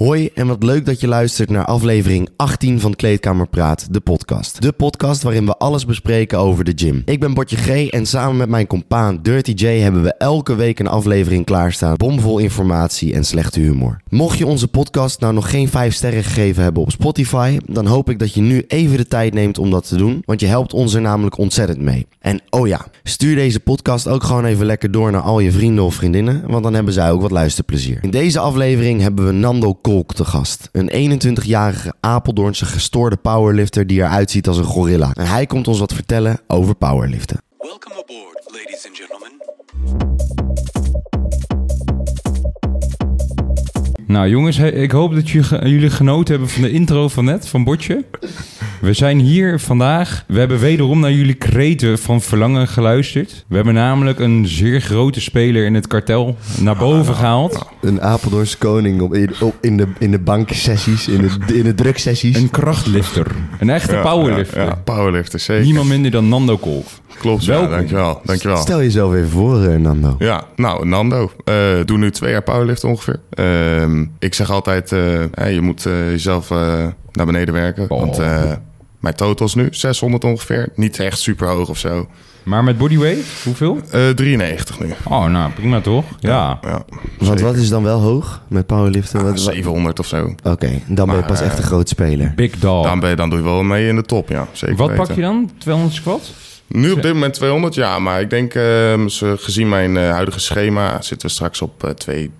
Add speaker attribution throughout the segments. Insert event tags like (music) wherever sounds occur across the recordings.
Speaker 1: Hoi en wat leuk dat je luistert naar aflevering 18 van Kleedkamer Praat, de podcast. De podcast waarin we alles bespreken over de gym. Ik ben Botje G en samen met mijn compaan Dirty J hebben we elke week een aflevering klaarstaan. Bomvol informatie en slechte humor. Mocht je onze podcast nou nog geen 5 sterren gegeven hebben op Spotify, dan hoop ik dat je nu even de tijd neemt om dat te doen, want je helpt ons er namelijk ontzettend mee. En oh ja, stuur deze podcast ook gewoon even lekker door naar al je vrienden of vriendinnen, want dan hebben zij ook wat luisterplezier. In deze aflevering hebben we Nando Kolk te gast. Een 21-jarige Apeldoornse gestoorde powerlifter die eruit ziet als een gorilla. En hij komt ons wat vertellen over powerliften.
Speaker 2: Welcome aboard, ladies and gentlemen.
Speaker 3: Nou jongens, he- ik hoop dat ju- ge- jullie genoten hebben van de intro van net, van Botje. We zijn hier vandaag. We hebben wederom naar jullie kreten van verlangen geluisterd. We hebben namelijk een zeer grote speler in het kartel naar boven gehaald.
Speaker 1: Een Apeldoornse koning op in, op in, de, in de banksessies, in de, in de druksessies.
Speaker 3: Een krachtlifter. Een echte
Speaker 4: Ja,
Speaker 3: powerlifter.
Speaker 4: Ja, ja, powerlifter, zeker.
Speaker 3: Niemand minder dan Nando Kolf.
Speaker 4: Klopt, ja,
Speaker 3: Welkom.
Speaker 4: dankjewel. dankjewel.
Speaker 1: Stel jezelf even voor, eh, Nando.
Speaker 4: Ja, nou, Nando. eh, doe nu twee jaar powerlift ongeveer. Ehm, ik zeg altijd, eh, hè, je moet eh, jezelf eh, naar beneden werken.
Speaker 3: Oh.
Speaker 4: Want eh, mijn total is nu 600 ongeveer. Niet echt super hoog of zo.
Speaker 3: Maar met bodyweight, hoeveel?
Speaker 4: Eh, 93 nu.
Speaker 3: Oh, nou prima toch? Ja.
Speaker 4: Ja,
Speaker 1: Want
Speaker 4: zeker.
Speaker 1: wat is dan wel hoog met powerliften?
Speaker 4: Ah,
Speaker 1: Wat- wat-
Speaker 4: 700 of zo.
Speaker 3: Oh.
Speaker 1: Oké, dan ben je
Speaker 4: Maar,
Speaker 1: pas
Speaker 4: eh,
Speaker 1: echt een groot speler.
Speaker 3: Big dog.
Speaker 4: Dan, ben je, dan doe je wel mee in de top, ja. Zeker
Speaker 3: Wat
Speaker 4: weten.
Speaker 3: pak je dan? 200 squat?
Speaker 4: Nu op dit moment 200, ja. Maar ik denk, ehm, ze- gezien mijn eh, huidige schema... zitten we straks op eh,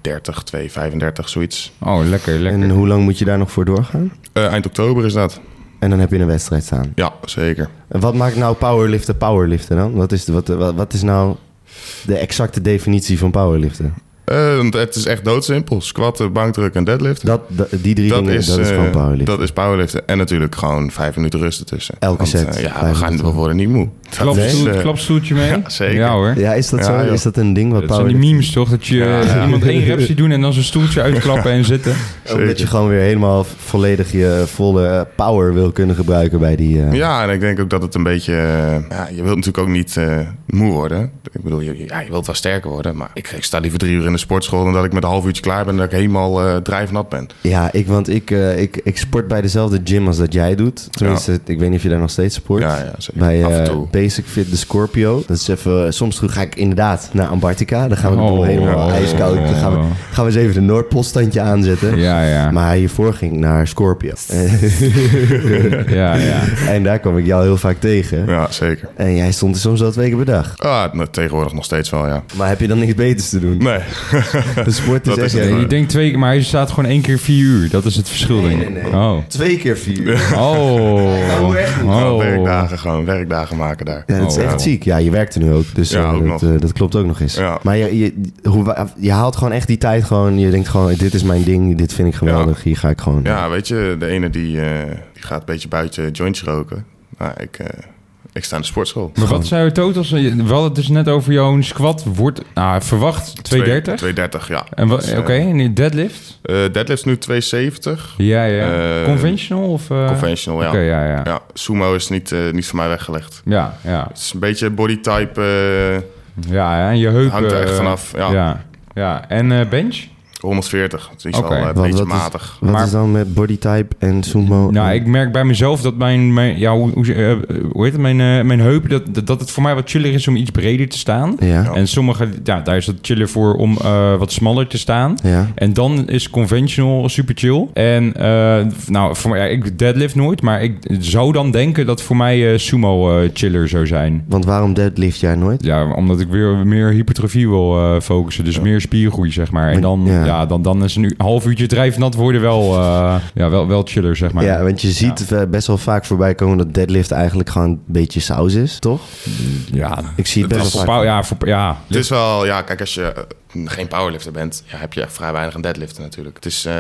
Speaker 4: 230, 235, zoiets.
Speaker 3: Oh, lekker, lekker.
Speaker 1: En hoe lang moet je daar nog voor doorgaan?
Speaker 4: Eh, eind oktober is dat.
Speaker 1: En dan heb je een wedstrijd staan.
Speaker 4: Ja, zeker.
Speaker 1: En wat maakt nou powerliften powerliften dan? Wat is, de- wat, wat, wat is nou de exacte definitie van powerliften?
Speaker 4: Eh, want het is echt doodsimpel. Squatten, bankdruk en deadlift.
Speaker 1: Dat, dat- die drie dingen, dat is
Speaker 4: eh,
Speaker 1: gewoon powerliften.
Speaker 4: Dat is powerliften. En natuurlijk gewoon vijf minuten rust ertussen.
Speaker 1: Elke
Speaker 4: Want,
Speaker 1: set,
Speaker 4: eh, ja,
Speaker 1: vijf
Speaker 4: we, gaan, we
Speaker 1: minuten.
Speaker 4: worden niet moe. Dat is,
Speaker 3: Klapstoel,
Speaker 4: eh,
Speaker 3: klapstoeltje mee?
Speaker 4: Ja, zeker.
Speaker 3: Ja hoor.
Speaker 1: Ja, is dat
Speaker 4: Ja,
Speaker 1: zo?
Speaker 4: joh.
Speaker 1: Is dat een ding wat
Speaker 3: Dat zijn die
Speaker 1: powerliften?
Speaker 3: memes toch? Dat je
Speaker 4: Ja,
Speaker 3: eh, (laughs)
Speaker 4: ja.
Speaker 3: iemand één rep ziet doen en dan zijn stoeltje uitklappen en zitten.
Speaker 1: Omdat je gewoon weer helemaal volledig je volle eh, power wil kunnen gebruiken bij die... eh,
Speaker 4: Ja, en ik denk ook dat het een beetje... eh, ja, je wilt natuurlijk ook niet eh, moe worden. Ik bedoel, je, ja, je wilt wel sterker worden. Maar ik, ik sta liever drie uur in de sportschool... dan dat ik met een half uurtje klaar ben... en dat ik helemaal eh, drijfnat ben.
Speaker 1: Ja, ik, want ik, eh, ik, ik sport bij dezelfde gym als dat jij doet. Tenminste, ik weet niet of je daar nog steeds sport.
Speaker 4: Ja, ja, zeker.
Speaker 1: Bij
Speaker 4: Af en
Speaker 1: eh,
Speaker 4: toe.
Speaker 1: Basic Fit de Scorpio. Dat is even, eh, soms ga ik inderdaad naar Antarctica. Dan gaan we de boel
Speaker 3: Oh.
Speaker 1: helemaal ijskoud. Dan gaan we, gaan we eens even de Noordpoolstandje aanzetten.
Speaker 3: Ja, ja.
Speaker 1: Maar hiervoor ging ik naar Scorpio. (laughs)
Speaker 3: ja, ja.
Speaker 1: en daar kwam ik jou heel vaak tegen.
Speaker 4: Ja, zeker.
Speaker 1: En jij stond er soms wel twee keer per dag.
Speaker 4: Ah, nou, tegenwoordig nog steeds wel, ja.
Speaker 1: Maar heb je dan niks beters te doen?
Speaker 4: Nee. (laughs)
Speaker 1: De sport is
Speaker 4: Dat
Speaker 1: echt...
Speaker 4: is het
Speaker 1: ja,
Speaker 4: wel.
Speaker 3: Ik denk twee keer, maar hij staat gewoon één keer vier uur. Dat is het verschil, denk ik.
Speaker 1: Nee, nee, nee.
Speaker 4: (laughs)
Speaker 3: Oh.
Speaker 1: Twee keer vier uur.
Speaker 3: Oh.
Speaker 1: Nou, echt niet.
Speaker 4: Gewoon
Speaker 3: Oh.
Speaker 4: Werkdagen gewoon. Werkdagen maken daar.
Speaker 1: Ja, dat is
Speaker 3: Oh,
Speaker 1: echt
Speaker 3: wow.
Speaker 1: ziek. Ja, je werkt er nu ook. Dus
Speaker 4: Ja,
Speaker 1: eh,
Speaker 4: ook
Speaker 1: dat,
Speaker 4: nog.
Speaker 1: eh, dat klopt ook nog eens.
Speaker 4: Ja.
Speaker 1: Maar je, je, hoe, wa- je haalt gewoon echt die tijd gewoon. Je denkt gewoon, dit is mijn ding. Dit vind ik geweldig. Hier ga ik gewoon.
Speaker 4: Ja, weet je, de ene die, eh, die gaat een beetje buiten joints roken. Nou, ik, eh, ik sta in de sportschool.
Speaker 3: Maar wat zou je totals? We hadden het dus net over jouw squat. Wordt ah, verwacht 230.
Speaker 4: 230, ja.
Speaker 3: En wa-
Speaker 4: Dus,
Speaker 3: Oké,
Speaker 4: eh,
Speaker 3: en die deadlift?
Speaker 4: eh, deadlift is nu 270.
Speaker 3: Ja, ja.
Speaker 4: eh,
Speaker 3: Conventional of? eh?
Speaker 4: Conventional, ja.
Speaker 3: Oké, ja, ja.
Speaker 4: Ja, sumo is niet, eh, niet voor mij weggelegd.
Speaker 3: Ja, ja.
Speaker 4: Het is een beetje bodytype, eh
Speaker 3: Ja, ja. En je heupen.
Speaker 4: hangt er echt
Speaker 3: eh,
Speaker 4: vanaf. Ja,
Speaker 3: Ja. ja. En eh, bench?
Speaker 4: 140. Het is
Speaker 3: Oké,
Speaker 4: wel eh, een
Speaker 1: want
Speaker 4: beetje
Speaker 1: dat is-
Speaker 4: matig.
Speaker 1: Wat
Speaker 3: Maar-
Speaker 1: is dan met bodytype en sumo?
Speaker 3: Nou, ik merk bij mezelf dat mijn, mijn ja, hoe, hoe, eh, hoe heet het, mijn, eh, mijn heupen, dat, dat, dat het voor mij wat chiller is om iets breder te staan.
Speaker 1: Ja.
Speaker 3: En sommige, ja, daar is het chiller voor om eh, wat smaller te staan.
Speaker 1: Ja.
Speaker 3: En dan is conventional super chill. En eh, nou, voor mij, ja, ik deadlift nooit, maar ik zou dan denken dat voor mij eh, sumo eh, chiller zou zijn.
Speaker 1: Want waarom deadlift jij nooit?
Speaker 3: Ja, omdat ik weer meer hypertrofie wil eh, focussen. Dus meer spiergroei, zeg maar. En dan,
Speaker 1: Ja.
Speaker 3: ja. dan, dan is een half uurtje drijfnat worden wel, eh, ja, wel, wel chiller, zeg maar.
Speaker 1: ja, want je ziet eh, best wel vaak voorbij komen dat deadlift eigenlijk gewoon een beetje saus is, toch?
Speaker 3: ja
Speaker 1: Ik zie het best
Speaker 3: Ja,
Speaker 1: wel
Speaker 3: voor
Speaker 1: vaak.
Speaker 3: Pau- ja, voor, ja.
Speaker 4: Het is wel, ja, kijk, als je eh, geen powerlifter bent, ja, heb je echt vrij weinig aan deadliften natuurlijk. Het is eh,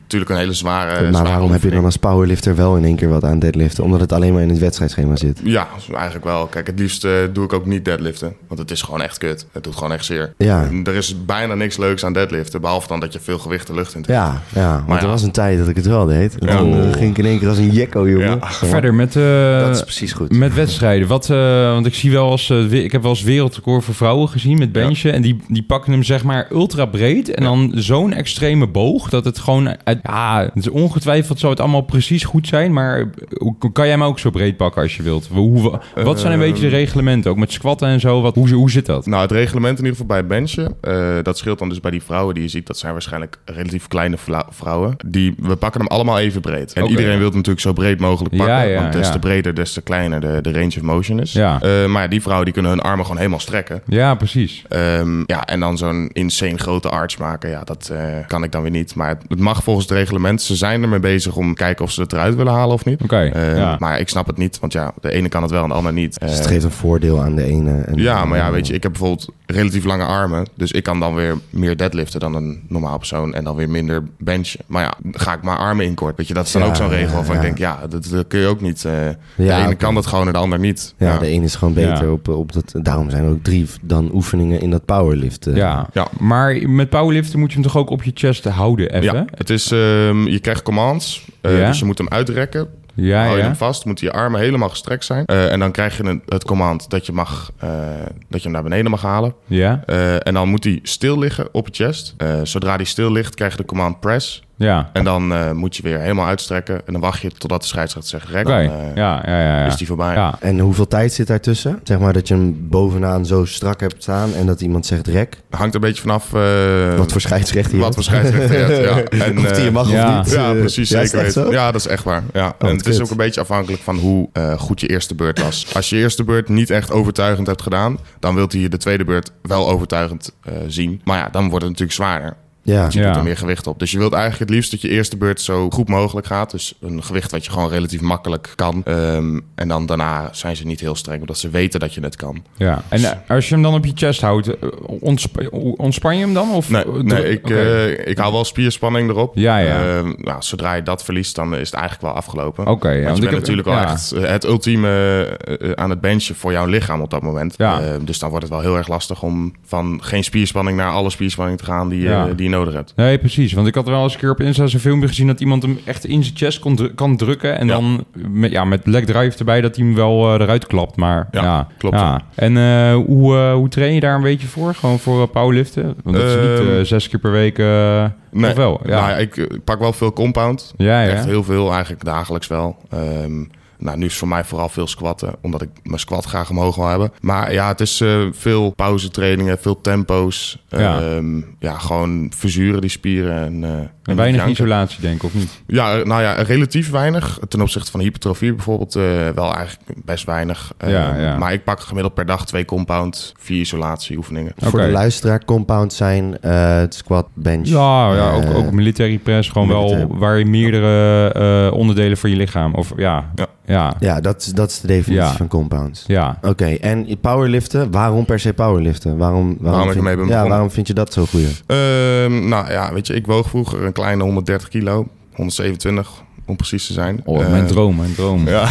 Speaker 4: natuurlijk een hele zware.
Speaker 1: maar
Speaker 4: zware
Speaker 1: waarom heb je dan
Speaker 4: oefening.
Speaker 1: als powerlifter wel in één keer wat aan deadliften? Omdat het alleen maar in het wedstrijdschema zit.
Speaker 4: Ja, eigenlijk wel. Kijk, het liefst eh, doe ik ook niet deadliften. Want het is gewoon echt kut. Het doet gewoon echt zeer.
Speaker 1: Ja.
Speaker 4: En Er is bijna niks leuks aan deadliften. Behalve dan dat je veel gewicht de lucht in trekt.
Speaker 1: Ja, ja. Want
Speaker 4: Maar
Speaker 1: er
Speaker 4: ja.
Speaker 1: was een tijd dat ik het wel deed. En
Speaker 4: Ja.
Speaker 1: Dan eh, ging ik in één keer als een jekko, jongen.
Speaker 4: Ja.
Speaker 3: Verder met, eh,
Speaker 1: Dat is precies goed.
Speaker 3: met wedstrijden. Wat, eh, want ik zie wel als, eh, we- ik heb wel eens wereldrecord voor vrouwen gezien met benchen. En die, die pakken hem hem zeg maar ultra breed en dan zo'n extreme boog dat het gewoon uit, ja, het is ongetwijfeld zou het allemaal precies goed zijn, maar hoe- kan jij hem ook zo breed pakken als je wilt? Hoe, wat zijn een beetje de reglementen ook met squatten en zo? Wat, hoe, hoe zit dat?
Speaker 4: Nou, het reglement in ieder geval bij het benchen. eh, dat scheelt dan dus bij die vrouwen die je ziet. Dat zijn waarschijnlijk relatief kleine vla- vrouwen. Die, we pakken hem allemaal even breed. En
Speaker 3: Oké.
Speaker 4: iedereen wil het natuurlijk zo breed mogelijk
Speaker 3: Ja,
Speaker 4: pakken.
Speaker 3: ja,
Speaker 4: want des
Speaker 3: ja.
Speaker 4: te breder, des te kleiner de, de range of motion is.
Speaker 3: Ja.
Speaker 4: Eh, maar ja, die vrouwen die kunnen hun armen gewoon helemaal strekken.
Speaker 3: Ja, precies.
Speaker 4: Ehm, ja, en dan zo'n insane grote arts maken. Ja, dat eh, kan ik dan weer niet. Maar het, het mag volgens het reglement. Ze zijn ermee bezig om te kijken of ze het eruit willen halen of niet.
Speaker 3: Oké,
Speaker 4: Ehm,
Speaker 3: ja.
Speaker 4: Maar ik snap het niet. Want ja, de ene kan het wel en de ander niet.
Speaker 1: Dus
Speaker 4: Eh,
Speaker 1: het geeft een voordeel aan de ene. En
Speaker 4: ja, maar ja, weet je, ik heb bijvoorbeeld relatief lange armen. Dus ik kan dan weer meer deadliften dan een normaal persoon. En dan weer minder benchen. Maar ja, ga ik mijn armen inkort. Weet je, dat is dan
Speaker 1: Ja,
Speaker 4: ook zo'n regel
Speaker 1: ja,
Speaker 4: van
Speaker 1: ja.
Speaker 4: ik denk, ja, dat, dat kun je ook niet. eh, de
Speaker 1: Ja,
Speaker 4: ene
Speaker 1: oké.
Speaker 4: kan dat gewoon en de ander niet.
Speaker 1: Ja,
Speaker 4: Ja,
Speaker 1: de ene is gewoon beter
Speaker 3: Ja.
Speaker 1: op, op dat. Daarom zijn er ook drie dan oefeningen in dat powerlift. eh.
Speaker 3: ja.
Speaker 4: ja.
Speaker 3: maar met powerliften moet je hem toch ook op je chest houden even?
Speaker 4: Ja,
Speaker 3: Ja,
Speaker 4: het is, ehm, je krijgt commands. eh,
Speaker 3: Ja.
Speaker 4: Dus je moet hem uitrekken.
Speaker 3: Ah, ja.
Speaker 4: Hou je hem vast, moeten je armen helemaal gestrekt zijn. Eh, en dan krijg je een- het command dat je, mag, eh, dat je hem naar beneden mag halen.
Speaker 3: Ja,
Speaker 4: Eh, en dan moet hij stil liggen op je chest. Eh, zodra die stil ligt, krijg je de command press.
Speaker 3: ja.
Speaker 4: En dan eh, moet je weer helemaal uitstrekken. En dan wacht je totdat de scheidsrechter zegt rek.
Speaker 3: Oké,
Speaker 4: Dan, eh,
Speaker 3: ja, ja, ja. ja.
Speaker 4: is die voorbij.
Speaker 3: Ja,
Speaker 1: En hoeveel tijd zit daartussen? Zeg maar dat je hem bovenaan zo strak hebt staan en dat iemand zegt rek.
Speaker 4: Hangt een beetje vanaf eh,
Speaker 1: Wat voor scheidsrecht hier?
Speaker 4: wat voor scheidsrechter je
Speaker 1: (laughs)
Speaker 4: hebt, ja. En,
Speaker 1: of die je
Speaker 4: eh,
Speaker 1: mag
Speaker 3: ja.
Speaker 1: of niet.
Speaker 4: Ja,
Speaker 1: eh,
Speaker 4: precies.
Speaker 1: ja, is
Speaker 4: zeker
Speaker 1: het echt
Speaker 4: weten.
Speaker 1: zo?
Speaker 4: Ja, dat is echt waar. Ja. en
Speaker 1: wat
Speaker 4: het is
Speaker 1: kut.
Speaker 4: ook een beetje afhankelijk van hoe eh, goed je eerste beurt was. Als je eerste beurt niet echt overtuigend hebt gedaan, dan wilt hij je de tweede beurt wel overtuigend eh, zien. Maar ja, dan wordt het natuurlijk zwaarder.
Speaker 1: Ja.
Speaker 4: Je doet
Speaker 3: Ja.
Speaker 4: er meer gewicht op. Dus je wilt eigenlijk het liefst dat je eerste beurt zo goed mogelijk gaat. Dus een gewicht wat je gewoon relatief makkelijk kan. Ehm, en dan daarna zijn ze niet heel streng, omdat ze weten dat je het kan.
Speaker 3: ja. En eh, als je hem dan op je chest houdt, eh, ontsp- ontspan je hem dan? Of,
Speaker 4: Nee, nee ik,
Speaker 3: Oké.
Speaker 4: eh, ik hou wel spierspanning erop.
Speaker 3: Ja, ja.
Speaker 4: Ehm, nou, zodra je dat verliest, dan is het eigenlijk wel afgelopen.
Speaker 3: Oké, ja,
Speaker 4: want
Speaker 3: want
Speaker 4: je
Speaker 3: ik
Speaker 4: bent
Speaker 3: heb-
Speaker 4: natuurlijk al
Speaker 3: ja.
Speaker 4: echt eh, het ultieme eh, eh, aan het benchen voor jouw lichaam op dat moment.
Speaker 3: Ja.
Speaker 4: Ehm, dus dan wordt het wel heel erg lastig om van geen spierspanning naar alle spierspanning te gaan die, eh,
Speaker 3: Ja.
Speaker 4: die je nodig hebt.
Speaker 3: Nee, precies. Want ik had wel eens een keer op Insta zo'n filmpje gezien dat iemand hem echt in zijn chest kon dru- kan drukken. En
Speaker 4: Ja.
Speaker 3: dan met, ja, met leg drive erbij dat hij hem wel eh, eruit klapt. Maar ja,
Speaker 4: Ja, klopt.
Speaker 3: ja. En eh, hoe, eh, hoe train je daar een beetje voor? Gewoon voor eh, powerliften? Want dat is niet
Speaker 4: Ehm,
Speaker 3: eh, zes keer per week. eh,
Speaker 4: Nee,
Speaker 3: Of wel? Ja.
Speaker 4: Nou, ik eh, pak wel veel compound.
Speaker 3: ja, ja.
Speaker 4: Echt heel veel, eigenlijk dagelijks wel. Ehm, nou, nu is voor mij vooral veel squatten, omdat ik mijn squat graag omhoog wil hebben. Maar ja, het is eh, veel pauzetrainingen, veel tempo's.
Speaker 3: Ja.
Speaker 4: Ehm, ja, gewoon verzuren die spieren. En, eh, en
Speaker 3: En
Speaker 4: niet
Speaker 3: weinig
Speaker 4: janken.
Speaker 3: isolatie, denk ik, of niet?
Speaker 4: Ja, eh, nou ja, relatief weinig. eh, Ten opzichte van hypertrofie bijvoorbeeld eh, wel eigenlijk best weinig. Ehm,
Speaker 3: Ja, ja.
Speaker 4: Maar ik pak gemiddeld per dag twee compound, vier isolatieoefeningen.
Speaker 1: Voor
Speaker 3: Oké.
Speaker 1: de luisteraar, compound zijn, eh, het squat, bench.
Speaker 3: Ja, ja ook,
Speaker 1: eh,
Speaker 3: ook military press. Gewoon wel
Speaker 1: militair.
Speaker 3: waar je meerdere eh, onderdelen van je lichaam. Of ja.
Speaker 4: Ja.
Speaker 3: Ja. ja.
Speaker 1: Ja, dat, is- dat is de definitie
Speaker 3: Ja.
Speaker 1: van compounds. Oké, en powerliften, waarom per se powerliften? Waarom, waarom,
Speaker 4: ik
Speaker 1: vind,
Speaker 4: ermee ben
Speaker 1: ja,
Speaker 4: begonnen.
Speaker 1: waarom vind je dat zo goed?
Speaker 4: Ehm, nou ja, weet je, ik woog vroeger een kleine 130 kilo. 127 om precies te zijn.
Speaker 3: Oh,
Speaker 4: Eh,
Speaker 3: mijn droom, mijn droom.
Speaker 4: Ja,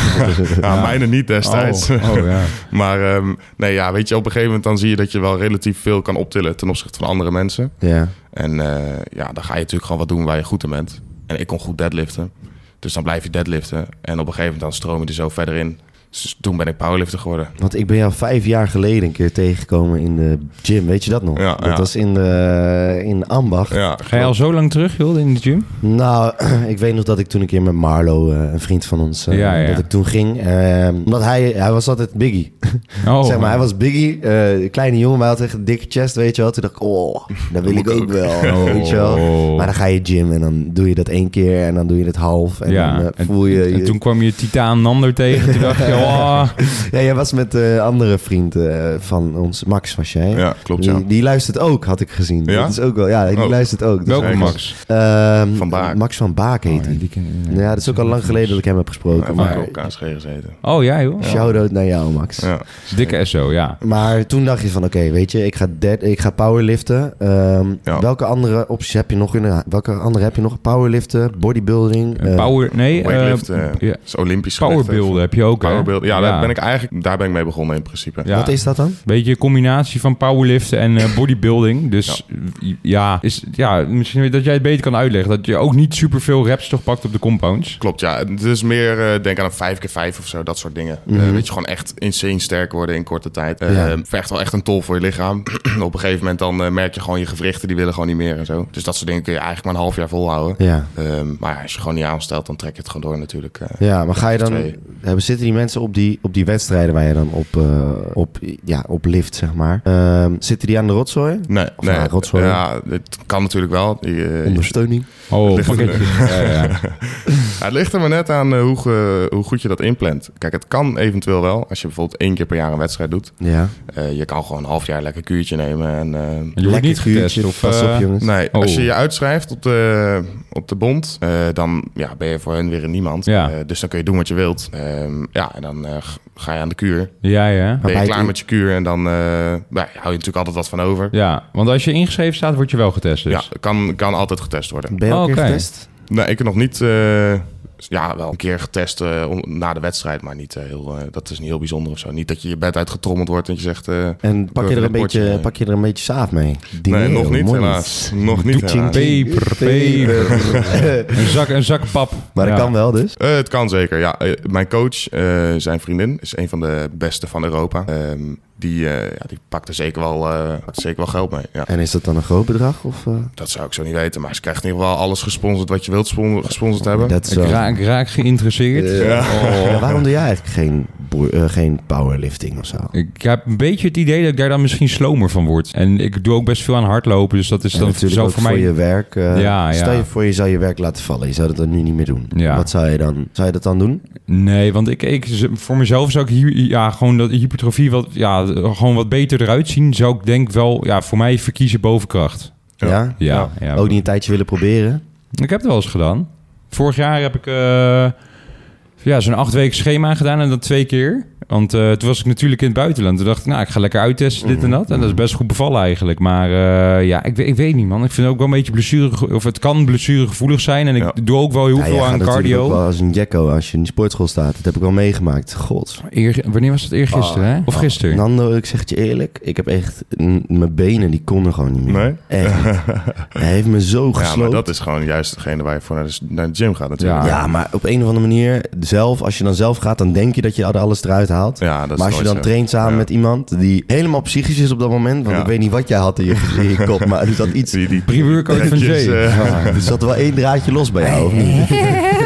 Speaker 4: ja, mijne niet destijds.
Speaker 3: Oh, oh,
Speaker 1: (laughs)
Speaker 3: ja.
Speaker 4: (laughs) Maar ehm, nee, ja, weet je, op een gegeven moment dan zie je dat je wel relatief veel kan optillen ten opzichte van andere mensen.
Speaker 1: Ja.
Speaker 4: En eh, ja, dan ga je natuurlijk gewoon wat doen waar je goed in bent. En ik kon goed deadliften. Dus dan blijf je deadliften. En op een gegeven moment dan stroom je er zo verder in. Dus toen ben ik powerlifter geworden.
Speaker 1: Want ik ben jou vijf jaar geleden een keer tegengekomen in de gym. Weet je dat nog?
Speaker 4: Ja,
Speaker 1: dat
Speaker 4: ja.
Speaker 1: was in, de, in Ambacht.
Speaker 4: Ja,
Speaker 3: Ga je al zo lang terug, joh, in de gym?
Speaker 1: Nou, (clears throat) ik weet nog dat ik toen een keer met Marlo, eh, een vriend van ons, eh,
Speaker 3: Ja, ja.
Speaker 1: dat ik toen ging. eh, omdat hij, hij was altijd Biggie.
Speaker 3: Oh,
Speaker 1: zeg maar, hij was Biggie, eh, kleine jongen, maar hij had echt een dikke chest, weet je wel. Toen dacht ik, oh, dat wil ik ook wel,
Speaker 3: (laughs) Oh.
Speaker 1: weet je wel.
Speaker 4: Oh.
Speaker 1: Maar dan ga je gym en dan doe je dat één keer en dan doe je het half. En
Speaker 3: ja,
Speaker 1: dan eh,
Speaker 3: en-
Speaker 1: voel je...
Speaker 3: en
Speaker 1: je-
Speaker 3: toen kwam je Titaan Nander tegen. Toen dacht je,
Speaker 1: (laughs)
Speaker 3: oh,
Speaker 1: Ja, jij was met eh andere vriend eh, van ons, Max was jij.
Speaker 4: ja klopt ja.
Speaker 1: Die, die luistert ook, had ik gezien.
Speaker 4: Ja?
Speaker 1: Dat is ook wel, ja, die
Speaker 4: Oh.
Speaker 1: luistert ook. Dus-
Speaker 3: welkom
Speaker 4: Zeker.
Speaker 3: Max.
Speaker 1: Ehm,
Speaker 4: Van Baak.
Speaker 1: Max van Baak
Speaker 3: Oh,
Speaker 1: heet hij. Ja, dat is ook al lang geleden dat ik hem heb gesproken.
Speaker 4: Even
Speaker 1: maar
Speaker 4: op elkaar gezeten.
Speaker 3: Oh ja, joh.
Speaker 1: shout-out naar jou, Max.
Speaker 4: Ja.
Speaker 3: Dikke SO, ja.
Speaker 1: Maar toen dacht je van, oké, weet je, ik ga, dead, ik ga powerliften. Ehm,
Speaker 4: Ja.
Speaker 1: Welke andere opties heb je nog? In, welke andere heb je nog? Powerliften, bodybuilding? eh,
Speaker 3: Power, nee, eh
Speaker 4: Weightliften.
Speaker 3: ja.
Speaker 4: is Olympisch gewicht.
Speaker 3: powerbeelden heb je ook, hè?
Speaker 4: voorbeelden. Ja,
Speaker 3: Ja.
Speaker 4: Daar, ben ik eigenlijk, daar ben ik mee begonnen in principe.
Speaker 3: Ja.
Speaker 1: Wat is dat dan?
Speaker 3: Beetje een combinatie van powerliften en eh, bodybuilding. Dus ja. is, ja, misschien dat jij het beter kan uitleggen. Dat je ook niet superveel reps toch pakt op de compounds.
Speaker 4: Klopt, ja. Het is meer, eh, denk aan een 5 keer 5 of zo, dat soort dingen. Eh, weet je, gewoon echt insane sterk worden in korte tijd. Eh,
Speaker 1: Mhm. Ja.
Speaker 4: Vergt wel echt een tol voor je lichaam. (clears throat) Op een gegeven moment dan eh, merk je gewoon je gewrichten, die willen gewoon niet meer en zo. Dus dat soort dingen kun je eigenlijk maar een half jaar volhouden.
Speaker 1: Ja.
Speaker 4: Ehm, maar ja, als je gewoon niet aanstelt, dan trek je het gewoon door natuurlijk. eh.
Speaker 1: Ja, maar ga je dan...
Speaker 4: Twee.
Speaker 1: Hebben, zitten die mensen op die, op die wedstrijden waar je dan op, eh, op, ja, op lift, zeg maar... ehm, zitten die aan de rotzooi?
Speaker 4: Nee,
Speaker 1: Of
Speaker 4: nee.
Speaker 1: nou, rotzooi.
Speaker 4: Ja, het kan natuurlijk wel. Je- eh, je-
Speaker 1: Ondersteuning?
Speaker 3: Oh,
Speaker 4: Ligt er
Speaker 3: pakketjes. Ja, ja, ja.
Speaker 4: Ja, het ligt er maar net aan eh, hoe, ge- hoe goed je dat inplant. Kijk, het kan eventueel wel als je bijvoorbeeld één keer per jaar een wedstrijd doet.
Speaker 1: Ja.
Speaker 4: Eh, je kan gewoon een half jaar lekker kuurtje nemen. En, eh,
Speaker 3: Je wordt niet
Speaker 1: kuurtje,
Speaker 3: getest. Of,
Speaker 1: Pas op,
Speaker 3: eh,
Speaker 1: jongens.
Speaker 4: Nee,
Speaker 3: Oh.
Speaker 4: als je je uitschrijft op de, op de bond, eh, dan ja, ben je voor hun weer een niemand.
Speaker 3: Ja.
Speaker 4: Eh, dus dan kun je doen wat je wilt. Ehm, ja, en dan eh, g- ga je aan de kuur.
Speaker 3: ja, ja.
Speaker 1: Maar
Speaker 4: Ben je
Speaker 1: bij
Speaker 4: klaar
Speaker 1: het-
Speaker 4: met je kuur en dan eh, nou, hou je natuurlijk altijd wat van over.
Speaker 3: Ja, want als je ingeschreven staat, word je wel getest dus.
Speaker 4: Ja, kan, kan altijd getest worden.
Speaker 1: Ben je ook
Speaker 3: Oh,
Speaker 1: een keer
Speaker 3: oké.
Speaker 1: getest?
Speaker 4: Nee, ik heb nog niet... eh, ja, wel een keer getest eh, om- na de wedstrijd, maar niet eh, heel, eh, dat is niet heel bijzonder of zo. Niet dat je je bed uitgetrommeld wordt en je zegt... eh,
Speaker 1: En pak je, er een
Speaker 4: rapportje.
Speaker 1: beetje, pak je er een beetje saaf mee?
Speaker 4: nee,
Speaker 1: Dinero,
Speaker 4: nog niet
Speaker 1: monies.
Speaker 4: helaas. Nog niet
Speaker 1: Doetjing,
Speaker 4: helaas.
Speaker 1: ping.
Speaker 3: Peper, peper. een, zak, een zak pap.
Speaker 1: (laughs) Maar dat
Speaker 3: Ja.
Speaker 1: kan wel dus.
Speaker 4: Eh, het kan zeker, ja. Eh, mijn coach, eh, zijn vriendin, is een van de beste van Europa. Ehm, die, eh, ja, die pakt er zeker wel, eh, pakt er zeker wel geld mee. Ja.
Speaker 1: En is dat dan een groot bedrag? Of, eh,
Speaker 4: Dat zou ik zo niet weten, maar ze krijgt in ieder geval alles gesponsord wat je wilt spon- gesponsord hebben. (laughs)
Speaker 1: dat is
Speaker 3: Ik
Speaker 1: wel-
Speaker 3: raak, raak geïnteresseerd.
Speaker 1: Ja,
Speaker 3: Oh.
Speaker 1: waarom doe jij eigenlijk geen, boer- eh, geen powerlifting of zo?
Speaker 3: Ik heb een beetje het idee dat ik daar dan misschien slomer van word. En ik doe ook best veel aan hardlopen, dus dat is
Speaker 1: En
Speaker 3: dan
Speaker 1: natuurlijk
Speaker 3: zo
Speaker 1: ook
Speaker 3: voor
Speaker 1: voor,
Speaker 3: mij...
Speaker 1: je werk. eh,
Speaker 3: Ja,
Speaker 1: Stel
Speaker 3: ja.
Speaker 1: je voor, je zou je werk laten vallen. Je zou dat dan nu niet meer doen.
Speaker 3: Ja.
Speaker 1: Wat zou je dan? Zou je dat dan doen?
Speaker 3: Nee, want ik, ik voor mezelf zou ik hier, ja, gewoon dat hypertrofie wat, ja, gewoon wat beter eruit zien, zou ik denk wel, ja, voor mij verkiezen boven kracht.
Speaker 1: Ja.
Speaker 3: Ja, ja.
Speaker 1: Ook niet een tijdje willen proberen.
Speaker 3: Ik heb het wel eens gedaan. Vorig jaar heb ik eh, ja, zo'n acht weken schema gedaan en dat twee keer. Want eh, toen was ik natuurlijk in het buitenland. Toen dacht ik, nou, ik ga lekker uittesten, dit en dat. En dat is best goed bevallen eigenlijk. Maar eh, ja, ik, we- ik weet niet, man. Ik vind het ook wel een beetje blessure... Of het kan blessuregevoelig zijn. En ik
Speaker 4: Ja.
Speaker 3: doe ook wel heel
Speaker 1: Ja, jij
Speaker 3: veel
Speaker 1: gaat
Speaker 3: aan
Speaker 1: natuurlijk
Speaker 3: cardio.
Speaker 1: ook wel als een jacko als je in de sportschool staat. Dat heb ik wel meegemaakt. God. Nou,
Speaker 3: Eer, wanneer was dat? Eergisteren,
Speaker 1: Ah.
Speaker 3: hè? Of gisteren?
Speaker 1: Nando, ik zeg het je eerlijk. Ik heb echt... n- Mijn benen, die konden gewoon niet meer.
Speaker 4: Nee?
Speaker 1: Echt niet. Hij heeft me zo
Speaker 4: ja, maar
Speaker 1: gesloopt.
Speaker 4: dat is gewoon juist degene waar je voor naar de, naar de gym gaat natuurlijk.
Speaker 3: Ja.
Speaker 4: Ja,
Speaker 1: Ja, maar op een of andere manier, zelf, als je dan zelf gaat, dan denk je dat je alles eruit haalt.
Speaker 4: dat is
Speaker 1: maar als je
Speaker 4: nooit
Speaker 1: dan
Speaker 4: zo.
Speaker 1: traint samen
Speaker 4: Ja.
Speaker 1: met iemand die helemaal psychisch is op dat moment, want
Speaker 4: Ja.
Speaker 1: ik weet niet wat jij had in je, in je kop, maar er zat
Speaker 4: (laughs)
Speaker 1: iets,
Speaker 4: Die, die
Speaker 3: Pre-workout van
Speaker 4: dingetjes,
Speaker 3: Jay.
Speaker 4: eh,
Speaker 1: er zat wel één draadje los bij jou. of niet?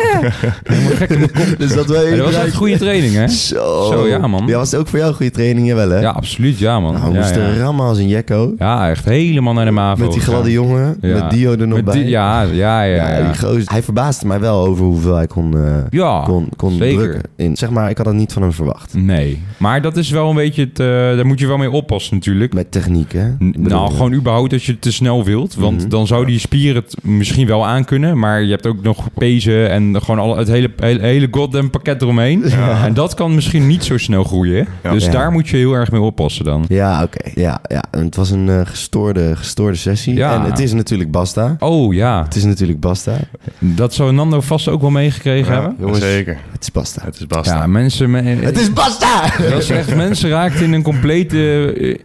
Speaker 3: Helemaal
Speaker 1: (laughs)
Speaker 3: gek in mijn kop.
Speaker 1: Er zat wel
Speaker 3: Ja,
Speaker 1: één
Speaker 3: dat was echt
Speaker 1: draadje.
Speaker 3: goede training, hè?
Speaker 1: Zo.
Speaker 3: Zo, ja, man.
Speaker 1: Ja, was het ook voor jou een goede training, jawel hè?
Speaker 3: Ja, absoluut. Ja, man.
Speaker 1: Nou, we
Speaker 3: ja,
Speaker 1: moesten
Speaker 3: ja.
Speaker 1: rammen als een jekko.
Speaker 3: Ja, echt helemaal naar de MAVO.
Speaker 1: Met die
Speaker 3: gegaan.
Speaker 1: gladde jongen,
Speaker 3: Ja.
Speaker 1: met Dio er nog
Speaker 3: Met
Speaker 1: bij.
Speaker 3: die- ja, ja, ja.
Speaker 1: Ja,
Speaker 3: ja.
Speaker 1: die gozer. Hij verbaasde mij wel over hoeveel hij kon, eh,
Speaker 3: Ja,
Speaker 1: kon, kon
Speaker 3: zeker.
Speaker 1: drukken. In, zeg maar, ik had dat niet van hem verwacht.
Speaker 3: Nee, maar dat is wel een beetje het... eh, daar moet je wel mee oppassen natuurlijk.
Speaker 1: Met techniek, hè?
Speaker 3: N-
Speaker 1: Ik Mhm. bedoel,
Speaker 3: Nou, gewoon überhaupt dat je het te snel wilt. Want dan zou die spier het misschien wel aankunnen. Maar je hebt ook nog pezen en gewoon al het hele, hele, hele goddamn pakket eromheen. En dat kan misschien niet zo snel groeien.
Speaker 4: Ja.
Speaker 3: Dus
Speaker 1: Ja.
Speaker 3: daar moet je heel erg mee oppassen dan.
Speaker 1: Ja, oké. Ja, ja. En het was een eh, gestoorde, gestoorde sessie.
Speaker 3: Ja.
Speaker 1: En het is natuurlijk Basta.
Speaker 3: Oh ja,
Speaker 1: Het is natuurlijk Basta.
Speaker 3: dat zou Nando vast ook wel meegekregen hebben.
Speaker 4: ja, zeker.
Speaker 1: Het is Basta.
Speaker 4: Het is Basta.
Speaker 3: Ja, mensen... me-
Speaker 1: Het is Basta!
Speaker 3: Dat is echt, mensen raakten in een complete,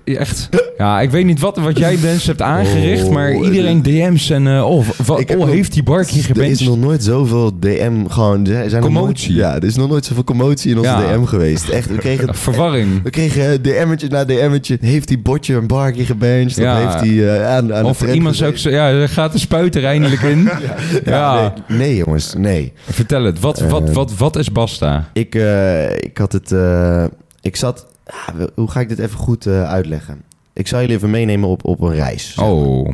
Speaker 3: eh, echt... Ja, ik weet niet wat, wat jij mensen hebt aangericht,
Speaker 1: Oh,
Speaker 3: maar iedereen DM's en... eh, oh, wa-
Speaker 1: Ik heb
Speaker 3: oh
Speaker 1: nog-
Speaker 3: heeft die bark hier
Speaker 1: Er is
Speaker 3: gebenst?
Speaker 1: nog nooit zoveel DM gewoon... er Zijn nog
Speaker 3: Commotie.
Speaker 1: nooit- ja, er is nog nooit zoveel commotie in onze
Speaker 3: Ja.
Speaker 1: DM geweest. Echt, we kregen...
Speaker 3: Verwarring.
Speaker 1: We kregen DM'tje na DM'tje. Heeft die botje een barkje gebenched?
Speaker 3: Ja.
Speaker 1: Of heeft hij eh, aan, aan de
Speaker 3: Of
Speaker 1: trend
Speaker 3: iemand zou
Speaker 1: gezeten?
Speaker 3: ook zo- Ja, er gaat de spuit er eindelijk
Speaker 1: (laughs)
Speaker 3: in. Ja,
Speaker 1: Nee, Eh. nee, jongens, nee.
Speaker 3: vertel het. Wat, wat, wat, wat is Basta?
Speaker 1: Ik, eh, ik had het. eh, ik zat. ah, we- hoe ga ik dit even goed eh, uitleggen? Ik zal jullie even meenemen op, op een reis.
Speaker 3: Oh,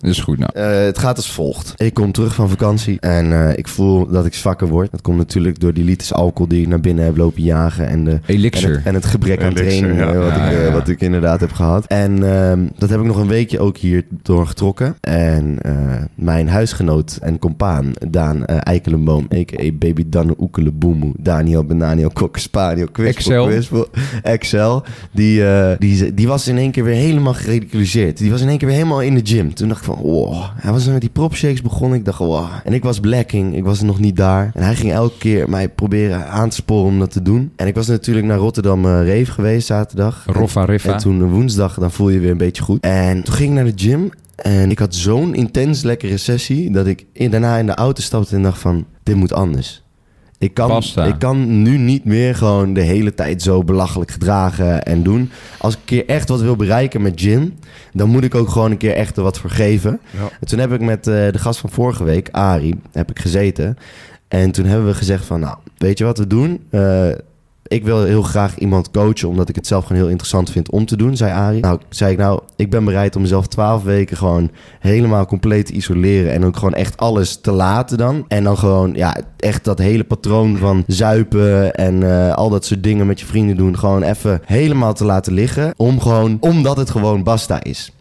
Speaker 3: dat is goed nou.
Speaker 1: Eh, het gaat als volgt. Ik kom terug van vakantie en eh, ik voel dat ik zwakker word. Dat komt natuurlijk door die liters alcohol die ik naar binnen heb lopen jagen. En, de, en,
Speaker 3: Elixir.
Speaker 1: het, en het gebrek aan
Speaker 4: Elixir,
Speaker 1: training
Speaker 4: ja.
Speaker 1: eh, wat,
Speaker 3: Ja,
Speaker 1: ik, eh,
Speaker 3: ja.
Speaker 1: wat ik inderdaad heb gehad. En ehm, dat heb ik nog een weekje ook hier doorgetrokken. En eh, mijn huisgenoot en compaan Daan eh, Eikelenboom, a.k.a. Baby Danne Oekeleboemoe, Daniel Benaniel Kokkespaniel, Quispel,
Speaker 3: Excel.
Speaker 1: Quispel, (laughs) Excel, die, eh, die, die was in één keer weer helemaal gereduceerd. Die was in één keer weer helemaal in de gym. Toen dacht ik van, wow. Hij was dan met die propshakes begonnen. Ik dacht, wow. En ik was blacking. Ik was nog niet daar. En hij ging elke keer mij proberen aan te sporen om dat te doen. En ik was natuurlijk naar Rotterdam eh Reef geweest zaterdag.
Speaker 3: Roffa Riffa.
Speaker 1: En toen eh, woensdag, dan voel je je weer een beetje goed. En toen ging ik naar de gym. En ik had zo'n intens lekkere sessie. dat ik in, daarna in de auto stapte en dacht: van dit moet anders. Ik kan,
Speaker 3: Pasta.
Speaker 1: ik kan nu niet meer gewoon de hele tijd zo belachelijk gedragen en doen. Als ik een keer echt wat wil bereiken met gym, dan moet ik ook gewoon een keer echt er wat voor geven.
Speaker 4: Ja.
Speaker 1: En toen heb ik met eh, de gast van vorige week, Ari, heb ik gezeten. En toen hebben we gezegd van, nou, weet je wat we doen? Eh, ik wil heel graag iemand coachen, omdat ik het zelf gewoon heel interessant vind om te doen, zei Ari. Nou, zei ik nou, ik ben bereid om mezelf twaalf weken gewoon helemaal compleet te isoleren. En ook gewoon echt alles te laten dan. En dan gewoon, ja, echt dat hele patroon van zuipen en eh, al dat soort dingen met je vrienden doen. Gewoon even helemaal te laten liggen, om gewoon, omdat het gewoon basta is.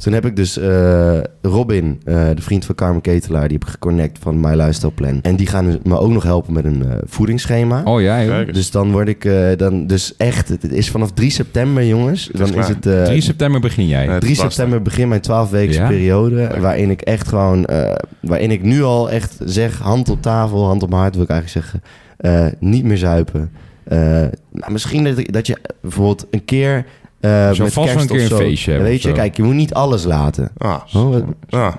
Speaker 1: Toen heb ik dus eh, Robin, eh, de vriend van Carmen Ketelaar, die heb ik geconnect van My Lifestyle Plan. En die gaan dus me ook nog helpen met een eh, voedingsschema.
Speaker 3: Oh ja, joh.
Speaker 4: Kijk.
Speaker 1: Dus dan word ik, eh, dan, dus echt, het is vanaf 3 september jongens. dan is
Speaker 4: klaar.
Speaker 1: het... eh,
Speaker 3: 3 september begin jij.
Speaker 4: Nee.
Speaker 1: 3
Speaker 4: Basta.
Speaker 1: september begin mijn 12-weekse
Speaker 3: Ja?
Speaker 1: periode. Waarin ik echt gewoon. eh, waarin ik nu al echt zeg: hand op tafel, hand op mijn hart wil ik eigenlijk zeggen. eh, niet meer zuipen. Eh, nou, misschien dat, dat je bijvoorbeeld een keer. eh
Speaker 3: Zo
Speaker 1: met
Speaker 3: vast
Speaker 1: kerst
Speaker 3: een keer
Speaker 1: of
Speaker 3: een
Speaker 1: zo,
Speaker 3: feestje hebben
Speaker 1: Weet
Speaker 3: of
Speaker 1: je,
Speaker 3: zo.
Speaker 1: kijk, je moet niet alles laten.
Speaker 4: Ah,
Speaker 1: Oh, wat-
Speaker 4: ah.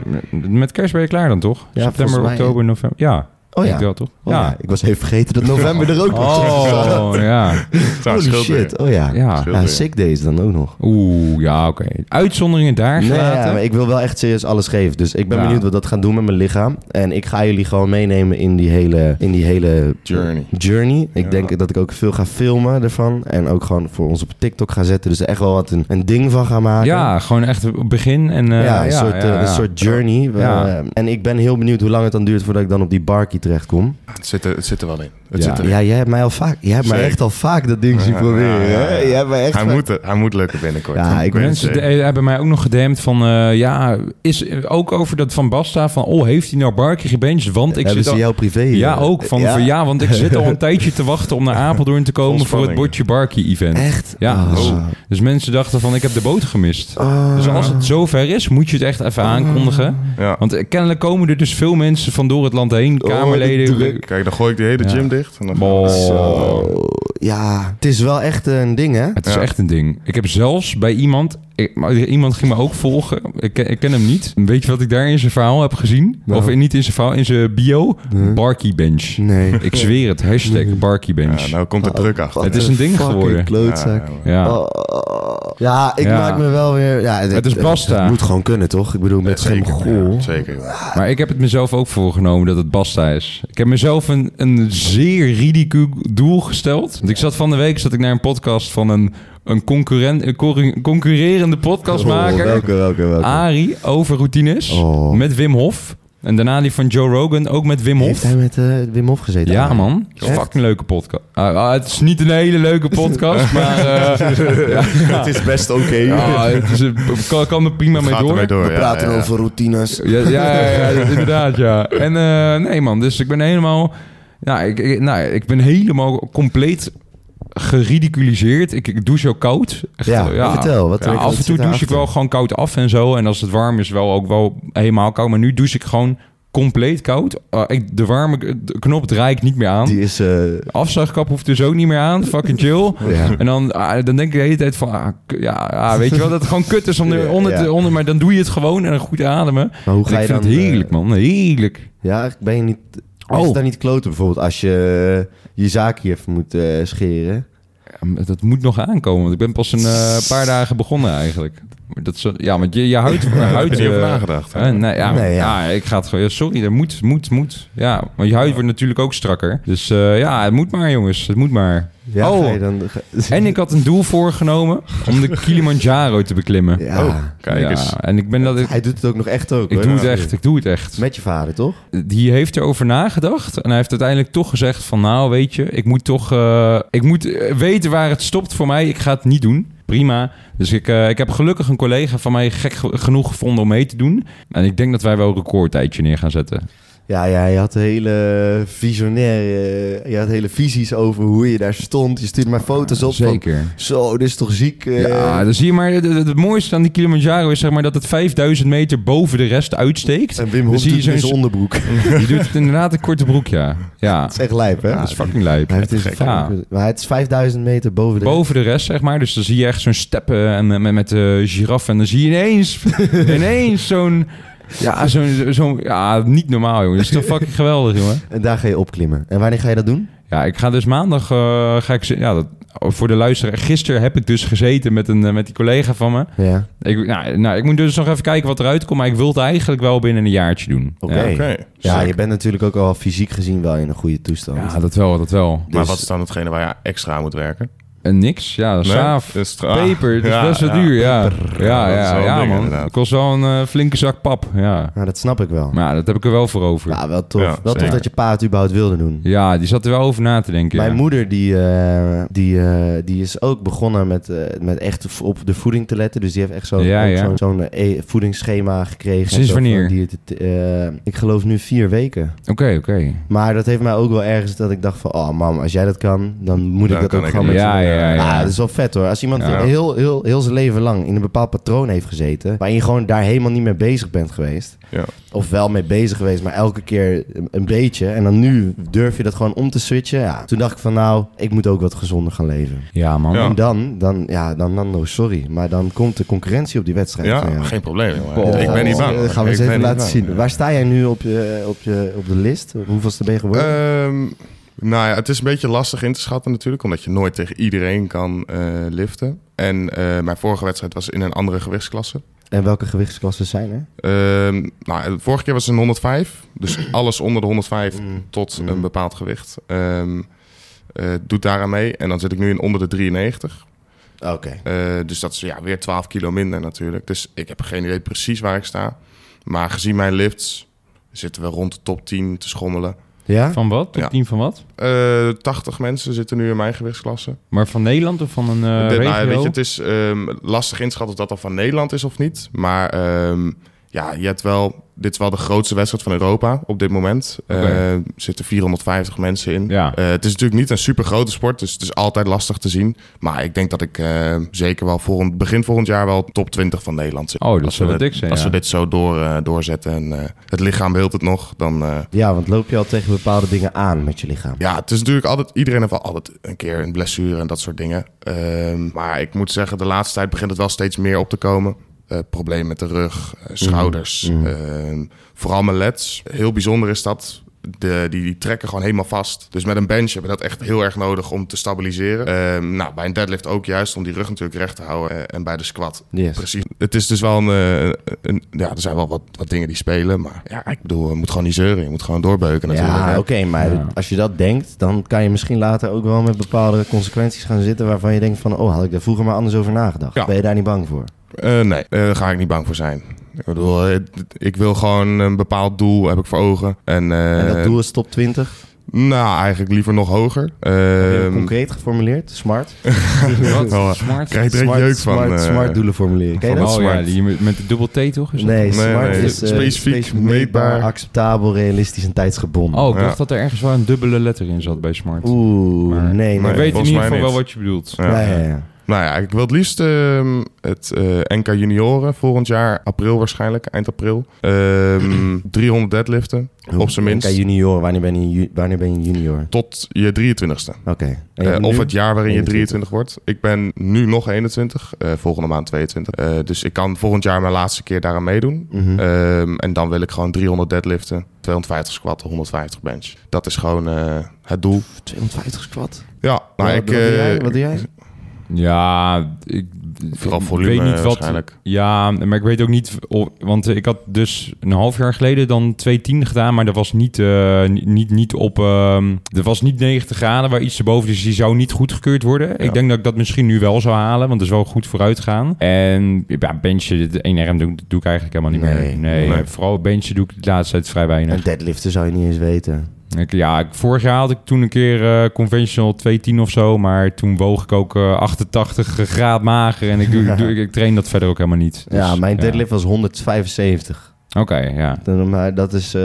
Speaker 3: Met kerst ben je klaar dan toch?
Speaker 1: Ja,
Speaker 3: september,
Speaker 1: volgens mij-
Speaker 3: oktober, november. Ja,
Speaker 1: oh ja.
Speaker 3: ik eh, wel toch?
Speaker 1: Oh ja, ik was even vergeten dat
Speaker 3: (laughs)
Speaker 1: november er ook nog (laughs) tussen
Speaker 3: Oh ja.
Speaker 1: zat. Holy shit, oh ja. ja.
Speaker 3: ja.
Speaker 4: Schil- Schilderen.
Speaker 1: sick days dan ook nog.
Speaker 3: Oeh, ja, oké. Uitzonderingen daar
Speaker 1: Nee,
Speaker 3: gelaten.
Speaker 1: ja, maar ik wil wel echt serieus alles geven. Dus ik ben
Speaker 3: Ja.
Speaker 1: benieuwd wat dat gaat doen met mijn lichaam. En ik ga jullie gewoon meenemen in die hele, in die hele
Speaker 4: Journey.
Speaker 1: journey. Ik
Speaker 4: Ja.
Speaker 1: denk dat ik ook veel ga filmen ervan. En ook gewoon voor ons op TikTok ga zetten. Dus er echt wel wat een, een ding van gaan maken.
Speaker 3: Ja, gewoon echt het begin en... eh,
Speaker 1: Ja, een, soort, eh,
Speaker 3: ja, ja.
Speaker 1: een soort journey.
Speaker 3: Ja.
Speaker 1: Eh, en ik ben heel benieuwd hoe lang het dan duurt voordat ik dan op die barkie terechtkom.
Speaker 4: Ah, Het zit, er, het zit er wel in. Het
Speaker 3: Ja.
Speaker 4: zit er
Speaker 1: Ja, jij hebt mij al vaak, jij hebt mij
Speaker 4: Zeker.
Speaker 1: echt al vaak dat ding zien
Speaker 4: Ja,
Speaker 1: proberen.
Speaker 4: ja, ja,
Speaker 1: hè?
Speaker 4: ja.
Speaker 1: Jij hebt mij echt
Speaker 4: Hij,
Speaker 1: vaak-
Speaker 4: moet, er- hij moet lukken binnenkort.
Speaker 1: Ja, ik weet
Speaker 3: Mensen
Speaker 4: het zeker.
Speaker 3: de- hebben mij ook nog gedempt van... eh, ja, is ook over dat Van Basta van... Oh, heeft hij nou Barkie gebenched? Want ik
Speaker 1: Hebben
Speaker 3: zit
Speaker 1: ze
Speaker 3: al...
Speaker 1: jou dus privé?
Speaker 3: Ja,
Speaker 1: eh,
Speaker 3: ook. Van, van, ja, want ik zit al een
Speaker 1: (laughs)
Speaker 3: tijdje te wachten om naar Apeldoorn te komen... voor het
Speaker 4: Ontspanning.
Speaker 3: Bordje Barkie-event.
Speaker 1: Echt?
Speaker 3: Ja,
Speaker 1: Oh.
Speaker 3: dus, dus mensen dachten van... Ik heb de boot gemist. Dus als het zover is, moet je het echt even aankondigen.
Speaker 4: Ja.
Speaker 3: Want eh, kennelijk komen er dus veel mensen van door het land heen.
Speaker 1: Oh,
Speaker 3: Kamerleden...
Speaker 1: die druk.
Speaker 4: Kijk, dan gooi ik die hele
Speaker 3: Ja.
Speaker 4: gym dicht. En dan
Speaker 3: Oh.
Speaker 4: Dus, eh,
Speaker 1: Zo. Ja, het is wel echt een ding, hè?
Speaker 3: Het is
Speaker 4: Ja.
Speaker 3: echt een ding. Ik heb zelfs bij iemand... Ik, maar iemand ging me ook volgen. Ik, ken- ik ken hem niet. Weet je wat ik daar in zijn verhaal heb gezien?
Speaker 1: Nou.
Speaker 3: Of in- niet in zijn verhaal, in zijn bio? Barkey Bench.
Speaker 4: (laughs)
Speaker 1: Nee.
Speaker 3: Ik zweer het. Hashtag Barkey Bench.
Speaker 4: Ja, nou komt
Speaker 1: Oh,
Speaker 4: er druk achter.
Speaker 3: Het is een ding
Speaker 1: Fucking
Speaker 3: geworden.
Speaker 1: klootzak.
Speaker 4: Ja,
Speaker 3: Ja.
Speaker 1: Oh, oh. Ja, ik
Speaker 3: Ja.
Speaker 1: maak me wel weer... Ja,
Speaker 3: Het is Basta.
Speaker 1: Het moet gewoon kunnen, toch? Ik bedoel, met geen
Speaker 4: zeker.
Speaker 1: goal.
Speaker 4: Ja, zeker.
Speaker 3: Maar ik heb het mezelf ook voorgenomen dat het basta is. Ik heb mezelf een, een zeer ridicuul doel gesteld. Want ik zat van de week zat ik naar een podcast van een, een, concurrent, een corru- concurrerende
Speaker 1: Oh,
Speaker 3: podcastmaker.
Speaker 1: welke, welke, welke?
Speaker 3: Ari over routines.
Speaker 1: Oh.
Speaker 3: Ah, Met Wim Hof. En daarna die van Joe Rogan ook met Wim
Speaker 1: Heeft
Speaker 3: Hof.
Speaker 1: hij met eh, Wim Hof gezeten?
Speaker 3: Ja, man. Het is een
Speaker 1: Echt?
Speaker 3: fucking leuke podcast. Ah, ah, het is niet een hele leuke podcast, maar... eh, ja, (laughs) ja.
Speaker 1: is best oké.
Speaker 3: Ja, het is een- kan, kan er prima mee
Speaker 4: Gaat
Speaker 3: door.
Speaker 4: ermee door.
Speaker 1: We
Speaker 4: Oh, ja,
Speaker 1: praten
Speaker 4: ja, ja.
Speaker 1: over routines.
Speaker 3: Ja, ja, ja, ja, inderdaad, ja. En eh, nee, man, dus ik ben helemaal... Ja, ik, ik, nou, ik ben helemaal compleet geridiculiseerd. Ik, ik douche ook koud. Echt,
Speaker 1: Ja,
Speaker 3: eh,
Speaker 1: vertel, wat-
Speaker 3: Ja,
Speaker 1: wat
Speaker 3: af en
Speaker 1: zit
Speaker 3: toe douche
Speaker 1: daarachter?
Speaker 3: ik wel gewoon koud af en zo. En als het warm is, wel ook wel helemaal koud. Maar nu douche ik gewoon compleet koud. Eh, ik, de warme k- de knop draai ik niet meer aan.
Speaker 1: Die is... eh,
Speaker 3: Afzuigkap hoeft dus ook niet meer aan. Fucking chill.
Speaker 1: (laughs) ja.
Speaker 3: En dan, ah, dan denk ik de hele tijd van, ah, k- ja, ah, weet je wel, dat het gewoon
Speaker 1: (laughs)
Speaker 3: kut is om
Speaker 1: Ja,
Speaker 3: er onder
Speaker 1: ja.
Speaker 3: te... Onder, maar dan doe je het gewoon en dan goed ademen.
Speaker 1: Maar hoe
Speaker 3: En
Speaker 1: ga je
Speaker 3: ik vind
Speaker 1: dan...
Speaker 3: het
Speaker 1: eh,
Speaker 3: heerlijk, man. Heerlijk.
Speaker 1: Ja, ben je niet... Is
Speaker 3: Oh.
Speaker 1: het dan niet kloten bijvoorbeeld als je eh, je zaak hier even moet eh, scheren?
Speaker 3: Ja, maar dat moet nog aankomen, want ik ben pas een eh, paar dagen begonnen eigenlijk. Maar Dat is, ja, want je, je huid... je
Speaker 4: Daar heb
Speaker 3: huid
Speaker 4: je niet over
Speaker 3: eh,
Speaker 4: nagedacht.
Speaker 3: hè, nee, ja,
Speaker 1: Nee, ja.
Speaker 3: ja. ik ga het gewoon... ja, sorry, dat moet, moet, moet. Ja, want je huid wordt natuurlijk ook strakker. Dus eh, ja, het moet maar, jongens. Het moet maar.
Speaker 1: Ja,
Speaker 3: Oh.
Speaker 1: ga je dan... ga- (laughs)
Speaker 3: En ik had een doel voorgenomen om de Kilimanjaro te beklimmen.
Speaker 1: Ja.
Speaker 4: Kijk
Speaker 3: Ja,
Speaker 4: eens.
Speaker 3: en ik ben dat... Ik,
Speaker 1: Oh. Hij doet het ook nog echt ook.
Speaker 3: ik
Speaker 1: hoor.
Speaker 3: doe het echt, ik doe het echt.
Speaker 1: Met je vader, toch?
Speaker 3: die heeft erover nagedacht. En hij heeft uiteindelijk toch gezegd van... nou, weet je, ik moet toch... eh, ik moet eh, weten waar het stopt voor mij. Ik ga het niet doen. Prima. Dus ik, eh, ik heb gelukkig een collega van mij gek ge- genoeg gevonden om mee te doen. En ik denk dat wij wel een recordtijdje neer gaan zetten.
Speaker 1: Ja, ja, je had hele visionaire, eh, je had hele visies over hoe je daar stond. Je stuurt maar foto's op van,
Speaker 3: Zeker.
Speaker 1: zo, dit is toch ziek. eh.
Speaker 3: Ja, dan zie je maar, het, het- het mooiste aan die Kilimanjaro is zeg maar dat het 5000 meter boven de rest uitsteekt.
Speaker 1: en Wim
Speaker 3: dan
Speaker 1: Hof
Speaker 3: zie
Speaker 1: doet
Speaker 3: je
Speaker 1: het in
Speaker 3: zo'n-
Speaker 1: zijn
Speaker 3: (laughs)
Speaker 1: onderbroek. (laughs) Het
Speaker 3: Je doet het inderdaad een korte broek, ja. Ja,
Speaker 1: is echt lijp, hè?
Speaker 3: dat is fucking lijp.
Speaker 1: Hij heeft het in zijn
Speaker 3: Ja.
Speaker 1: onderbroek. Maar het is 5000 meter boven de...
Speaker 3: Boven de rest, zeg maar. Dus dan zie je echt zo'n steppen en met, met, met de giraf. En dan zie je ineens, ineens zo'n... Ja, zo'n... zo'n ja, niet normaal, jongen. Dat is toch fucking geweldig, jongen.
Speaker 1: En daar ga je opklimmen. En wanneer ga je dat doen?
Speaker 3: Ja, ik ga dus maandag... eh, ga ik, zi- ja, dat, oh, voor de luisteraar. Gisteren heb ik dus gezeten met, een, eh, met die collega van me.
Speaker 1: Ja.
Speaker 3: Ik, nou, nou, ik moet dus nog even kijken wat eruit komt. Maar ik wil het eigenlijk wel binnen een jaartje doen.
Speaker 1: Oké.
Speaker 3: Ja.
Speaker 4: Oké.
Speaker 1: Ja,
Speaker 4: Sick.
Speaker 1: je bent natuurlijk ook al fysiek gezien wel in een goede toestand.
Speaker 3: Ja, dat wel, dat wel.
Speaker 4: Maar
Speaker 1: Dus-
Speaker 4: wat is dan hetgene waar je extra aan moet werken?
Speaker 3: En niks, ja,
Speaker 4: Nee?
Speaker 3: saaf,
Speaker 4: Dus tra-
Speaker 1: ah,
Speaker 3: peper, het is
Speaker 4: Ja,
Speaker 3: best wel
Speaker 4: ja.
Speaker 3: duur, ja. Ja,
Speaker 4: dat is
Speaker 3: ja,
Speaker 4: wel een
Speaker 3: ja,
Speaker 4: ding,
Speaker 3: man.
Speaker 4: inderdaad.
Speaker 3: Het kost wel een eh, flinke zak pap, ja.
Speaker 1: Nou, dat snap ik wel.
Speaker 3: Maar ja, dat heb ik er wel voor over.
Speaker 1: Ja, wel tof.
Speaker 4: Ja,
Speaker 1: wel tof
Speaker 4: zeker.
Speaker 1: dat je pa het überhaupt wilde doen.
Speaker 3: Ja, die zat er wel over na te denken.
Speaker 1: Mijn
Speaker 3: ja.
Speaker 1: moeder die, eh, die, eh, die is ook begonnen met, eh, met echt v- op de voeding te letten. Dus die heeft echt zo'n
Speaker 3: Ja,
Speaker 1: ook
Speaker 3: ja.
Speaker 1: zo'n zo'n, eh, e- voedingsschema gekregen.
Speaker 3: Sinds
Speaker 1: Zo van
Speaker 3: wanneer?
Speaker 1: die het, eh, ik geloof nu vier weken.
Speaker 3: Oké, oké.
Speaker 1: Maar dat heeft mij ook wel ergens dat ik dacht van... Oh mam, als jij dat kan, dan moet
Speaker 4: Dan
Speaker 1: ik dat
Speaker 4: kan
Speaker 1: ook
Speaker 4: ik
Speaker 1: gewoon
Speaker 4: het.
Speaker 1: met
Speaker 3: Ja,
Speaker 1: z'n-
Speaker 3: ja, ja.
Speaker 1: dat is wel vet hoor. Als iemand
Speaker 3: Ja.
Speaker 1: heel, heel, heel zijn leven lang in een bepaald patroon heeft gezeten... waarin je gewoon daar helemaal niet mee bezig bent geweest...
Speaker 4: Ja.
Speaker 1: of wel mee bezig geweest, maar elke keer een, een beetje... en dan nu durf je dat gewoon om te switchen. Ja. Toen dacht ik van nou, ik moet ook wat gezonder gaan leven.
Speaker 3: Ja, man.
Speaker 4: Ja.
Speaker 1: En dan, dan, ja, dan, dan, oh, sorry. Maar dan komt de concurrentie op die wedstrijd.
Speaker 4: Ja,
Speaker 1: van jou.
Speaker 4: geen probleem. jongen.
Speaker 3: Oh.
Speaker 4: Ik ben niet bang.
Speaker 1: Dat gaan we
Speaker 4: Ik
Speaker 1: eens even
Speaker 4: ben niet
Speaker 1: laten
Speaker 4: bang.
Speaker 1: zien. Waar sta jij nu op, je, op, je, op de list? Hoeveelste ben je geworden?
Speaker 4: Ehm, nou ja, het is een beetje lastig in te schatten natuurlijk, omdat je nooit tegen iedereen kan eh, liften. En eh, mijn vorige wedstrijd was in een andere gewichtsklasse.
Speaker 1: En welke gewichtsklassen zijn er?
Speaker 4: Ehm, nou, de vorige keer was het een 105,
Speaker 1: (clears throat)
Speaker 4: dus alles onder de 105
Speaker 1: Mm.
Speaker 4: tot
Speaker 1: Mm.
Speaker 4: een bepaald gewicht. Ehm eh, doet daaraan mee. En dan zit ik nu in onder de 93.
Speaker 1: Oké.
Speaker 4: Eh, dus dat is ja, weer 12 kilo minder natuurlijk. Dus ik heb geen idee precies waar ik sta. Maar gezien mijn lifts zitten we rond de top 10 te schommelen.
Speaker 1: Ja?
Speaker 3: Van wat? Top
Speaker 4: Ja.
Speaker 3: 10 van wat?
Speaker 4: Eh 80 mensen zitten nu in mijn gewichtsklasse.
Speaker 3: Maar van Nederland of van een eh,
Speaker 4: Dit- nou,
Speaker 3: regio?
Speaker 4: weet je, het is ehm, lastig inschatten of dat dan van Nederland is of niet. Maar ehm, ja, je hebt wel. Dit is wel de grootste wedstrijd van Europa op dit moment.
Speaker 3: Oké.
Speaker 4: Eh, Er zitten 450 mensen in.
Speaker 3: Ja.
Speaker 4: Eh, het is natuurlijk niet een super grote sport, dus het is altijd lastig te zien. Maar ik denk dat ik eh, zeker wel volgend, begin volgend jaar wel top 20 van Nederland zit.
Speaker 3: Oh, dat
Speaker 4: Als
Speaker 3: zou
Speaker 4: we
Speaker 3: wel
Speaker 4: dit-
Speaker 3: dik zijn,
Speaker 4: Als
Speaker 3: ja.
Speaker 4: we dit zo door, eh, doorzetten en eh, het lichaam wilt het nog, dan... eh,
Speaker 1: Ja, want loop je al tegen bepaalde dingen aan met je lichaam?
Speaker 4: ja, het is natuurlijk altijd... Iedereen heeft wel altijd een keer een blessure en dat soort dingen. Ehm, maar ik moet zeggen, de laatste tijd begint het wel steeds meer op te komen. Eh probleem met de rug, eh, schouders,
Speaker 1: Mhm.
Speaker 4: ehm, vooral mijn leds. Heel bijzonder is dat... De, die, die trekken gewoon helemaal vast. Dus met een bench heb je dat echt heel erg nodig om te stabiliseren. Ehm, nou, bij een deadlift ook juist om die rug natuurlijk recht te houden. Eh, en bij de squat
Speaker 1: Yes.
Speaker 4: Precies. Het is dus wel een, eh, een- Ja, er zijn wel wat, wat dingen die spelen. Maar ja, ik bedoel, je moet gewoon niet zeuren. Je moet gewoon doorbeuken natuurlijk.
Speaker 1: Ja,
Speaker 4: hè.
Speaker 1: oké, maar
Speaker 3: Ja.
Speaker 1: als je dat denkt, dan kan je misschien later ook wel met bepaalde consequenties gaan zitten waarvan je denkt van, oh, had ik daar vroeger maar anders over nagedacht.
Speaker 4: Ja.
Speaker 1: Ben je daar niet bang voor?
Speaker 4: Eh, nee, eh, daar ga ik niet bang voor zijn. Ik bedoel, eh, d- ik wil gewoon een bepaald doel heb ik voor ogen. En, eh,
Speaker 1: en dat doel is top 20,
Speaker 4: Nou, eigenlijk liever nog hoger. Ehm,
Speaker 1: concreet geformuleerd, smart.
Speaker 3: (laughs) Wat?
Speaker 4: Oh,
Speaker 3: Smart?
Speaker 4: krijg je direct
Speaker 1: smart,
Speaker 4: jeuk van.
Speaker 1: smart,
Speaker 4: eh,
Speaker 1: smart doelen formuleren. Ken je
Speaker 4: van
Speaker 1: dat?
Speaker 3: Oh ja,
Speaker 4: smart.
Speaker 3: die met, met de dubbel T toch? Is dat-
Speaker 1: Nee,
Speaker 4: Nee,
Speaker 1: smart
Speaker 4: nee,
Speaker 1: is eh,
Speaker 4: specifiek, meetbaar.
Speaker 1: acceptabel, realistisch en tijdsgebonden.
Speaker 3: Oh, ik
Speaker 4: Ja.
Speaker 3: dacht dat er ergens wel een dubbele letter in zat bij Smart.
Speaker 1: Oeh,
Speaker 3: Maar-
Speaker 1: nee,
Speaker 3: maar
Speaker 1: nee.
Speaker 3: ik weet in
Speaker 4: volgens
Speaker 3: ieder
Speaker 4: mij
Speaker 3: geval wel
Speaker 4: niet.
Speaker 3: wat je bedoelt.
Speaker 4: Ja.
Speaker 1: Ja, ja, ja.
Speaker 4: Nou ja, ik wil het liefst ehm, het eh, NK Junioren volgend jaar, april waarschijnlijk, eind
Speaker 1: (clears throat)
Speaker 4: april. Ehm, 300 deadliften, op zijn minst.
Speaker 1: Oké, junior, wanneer ben je, ju- wanneer ben je junior?
Speaker 4: Tot je 23ste.
Speaker 1: Oké. En
Speaker 4: Eh, of
Speaker 1: nu?
Speaker 4: het jaar waarin
Speaker 1: 21.
Speaker 4: je 23 wordt. Ik ben nu nog 21, eh, volgende maand 22. Eh, dus ik kan volgend jaar mijn laatste keer daaraan meedoen.
Speaker 1: Mhm.
Speaker 4: Ehm, en dan wil ik gewoon 300 deadliften, 250 squatten, 150 bench. Dat is gewoon eh, het doel.
Speaker 1: 250 squat.
Speaker 4: Ja,
Speaker 1: Wat-
Speaker 4: nou, ik,
Speaker 1: wat, doe jij?
Speaker 4: eh,
Speaker 1: Wat doe
Speaker 4: (laughs)
Speaker 1: jij?
Speaker 3: Ja, ik,
Speaker 4: Vooral
Speaker 3: ik
Speaker 4: volume
Speaker 3: weet niet wat.
Speaker 4: waarschijnlijk.
Speaker 3: Ja, maar ik weet ook niet. of- want ik had dus een half jaar geleden dan 210 gedaan. Maar dat was niet, eh, niet, niet, niet op. ehm er was niet 90 graden waar iets erboven. Dus die zou niet goedgekeurd worden. Ik denk dat ik dat misschien nu wel zou halen. Want er is wel goed vooruit gaan. En ja, benchen, dit 1RM doe, doe ik eigenlijk helemaal niet
Speaker 1: Nee,
Speaker 3: meer. Nee,
Speaker 4: nee.
Speaker 3: vooral benchen doe ik de laatste tijd vrij weinig.
Speaker 1: Een deadliften zou je niet eens weten.
Speaker 3: Ik, ja, ik- vorig jaar had ik toen een keer eh, conventional 210 of zo. Maar toen woog ik ook eh, 88 graad mager. En ik, doe- ik, doe- ik, ik train dat verder ook helemaal niet. Dus,
Speaker 1: ja, mijn deadlift was 175.
Speaker 3: Oké, ja.
Speaker 1: Dan- Maar dat is, eh,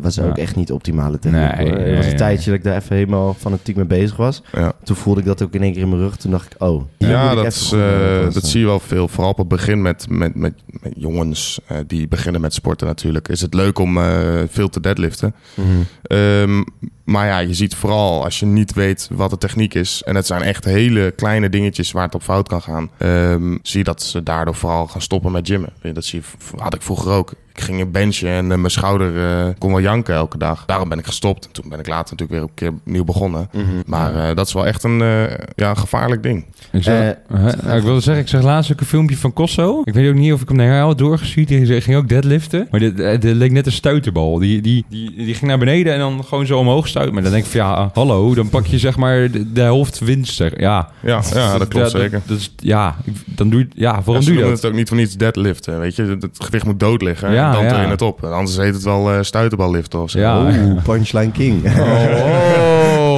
Speaker 1: was
Speaker 3: Ja.
Speaker 1: ook echt niet de optimale techniek.
Speaker 3: Nee,
Speaker 1: hoor.
Speaker 3: nee,
Speaker 1: er was een
Speaker 3: nee.
Speaker 1: tijdje dat ik daar even helemaal fanatiek mee bezig was.
Speaker 4: Ja.
Speaker 1: Toen voelde ik dat ook in één keer in mijn rug. Toen dacht ik, oh, hier moet
Speaker 4: Ja,
Speaker 1: ik
Speaker 4: dat,
Speaker 1: even
Speaker 4: is,
Speaker 1: goed mee
Speaker 4: eh,
Speaker 1: oppassen.
Speaker 4: dat zie je wel veel. Vooral op het begin met, met, met, met jongens eh, die beginnen met sporten natuurlijk. Is het leuk om eh, veel te deadliften.
Speaker 1: Mhm.
Speaker 4: Ehm, maar ja, je ziet vooral als je niet weet wat de techniek is. En het zijn echt hele kleine dingetjes waar het op fout kan gaan. ehm, zie je dat ze daardoor vooral gaan stoppen met gymmen. Weet je, Dat zie je, v- had ik vroeger ook. Ik ging een benchen en eh, mijn schouder eh, kon wel janken elke dag. Daarom ben ik gestopt. En toen ben ik later natuurlijk weer een keer opnieuw begonnen. Maar eh, dat is wel echt een eh, ja, een gevaarlijk ding.
Speaker 3: Ik, zag-
Speaker 1: Eh,
Speaker 3: hè? Nou, ik wilde zeggen, ik zag laatst ook een filmpje van Kosso. Ik weet ook niet of ik hem naar jou had doorgestuurd. Die ging ook deadliften. Maar dit, eh, dit leek net een stuiterbal. Die, die, die, die ging naar beneden en dan gewoon zo omhoog stuiten. Maar dan denk ik van ja, eh, hallo, dan pak je zeg maar de, de helft winst. Zeg. Ja,
Speaker 4: Ja, (laughs) ja dat klopt zeker.
Speaker 3: Dat, is, ja, ik- dan doe je, ja, waarom
Speaker 4: Ja, ze
Speaker 3: doe je
Speaker 4: noemen
Speaker 3: dat?
Speaker 4: het ook niet voor niets deadliften, weet je. Het- Het gewicht moet dood liggen
Speaker 3: Ja,
Speaker 4: en dan
Speaker 3: ja.
Speaker 4: train het op. En Anders heet het wel eh stuiterballiften of zo.
Speaker 3: Ja.
Speaker 1: Oeh, Punchline
Speaker 4: (laughs)
Speaker 1: King.
Speaker 4: Oh,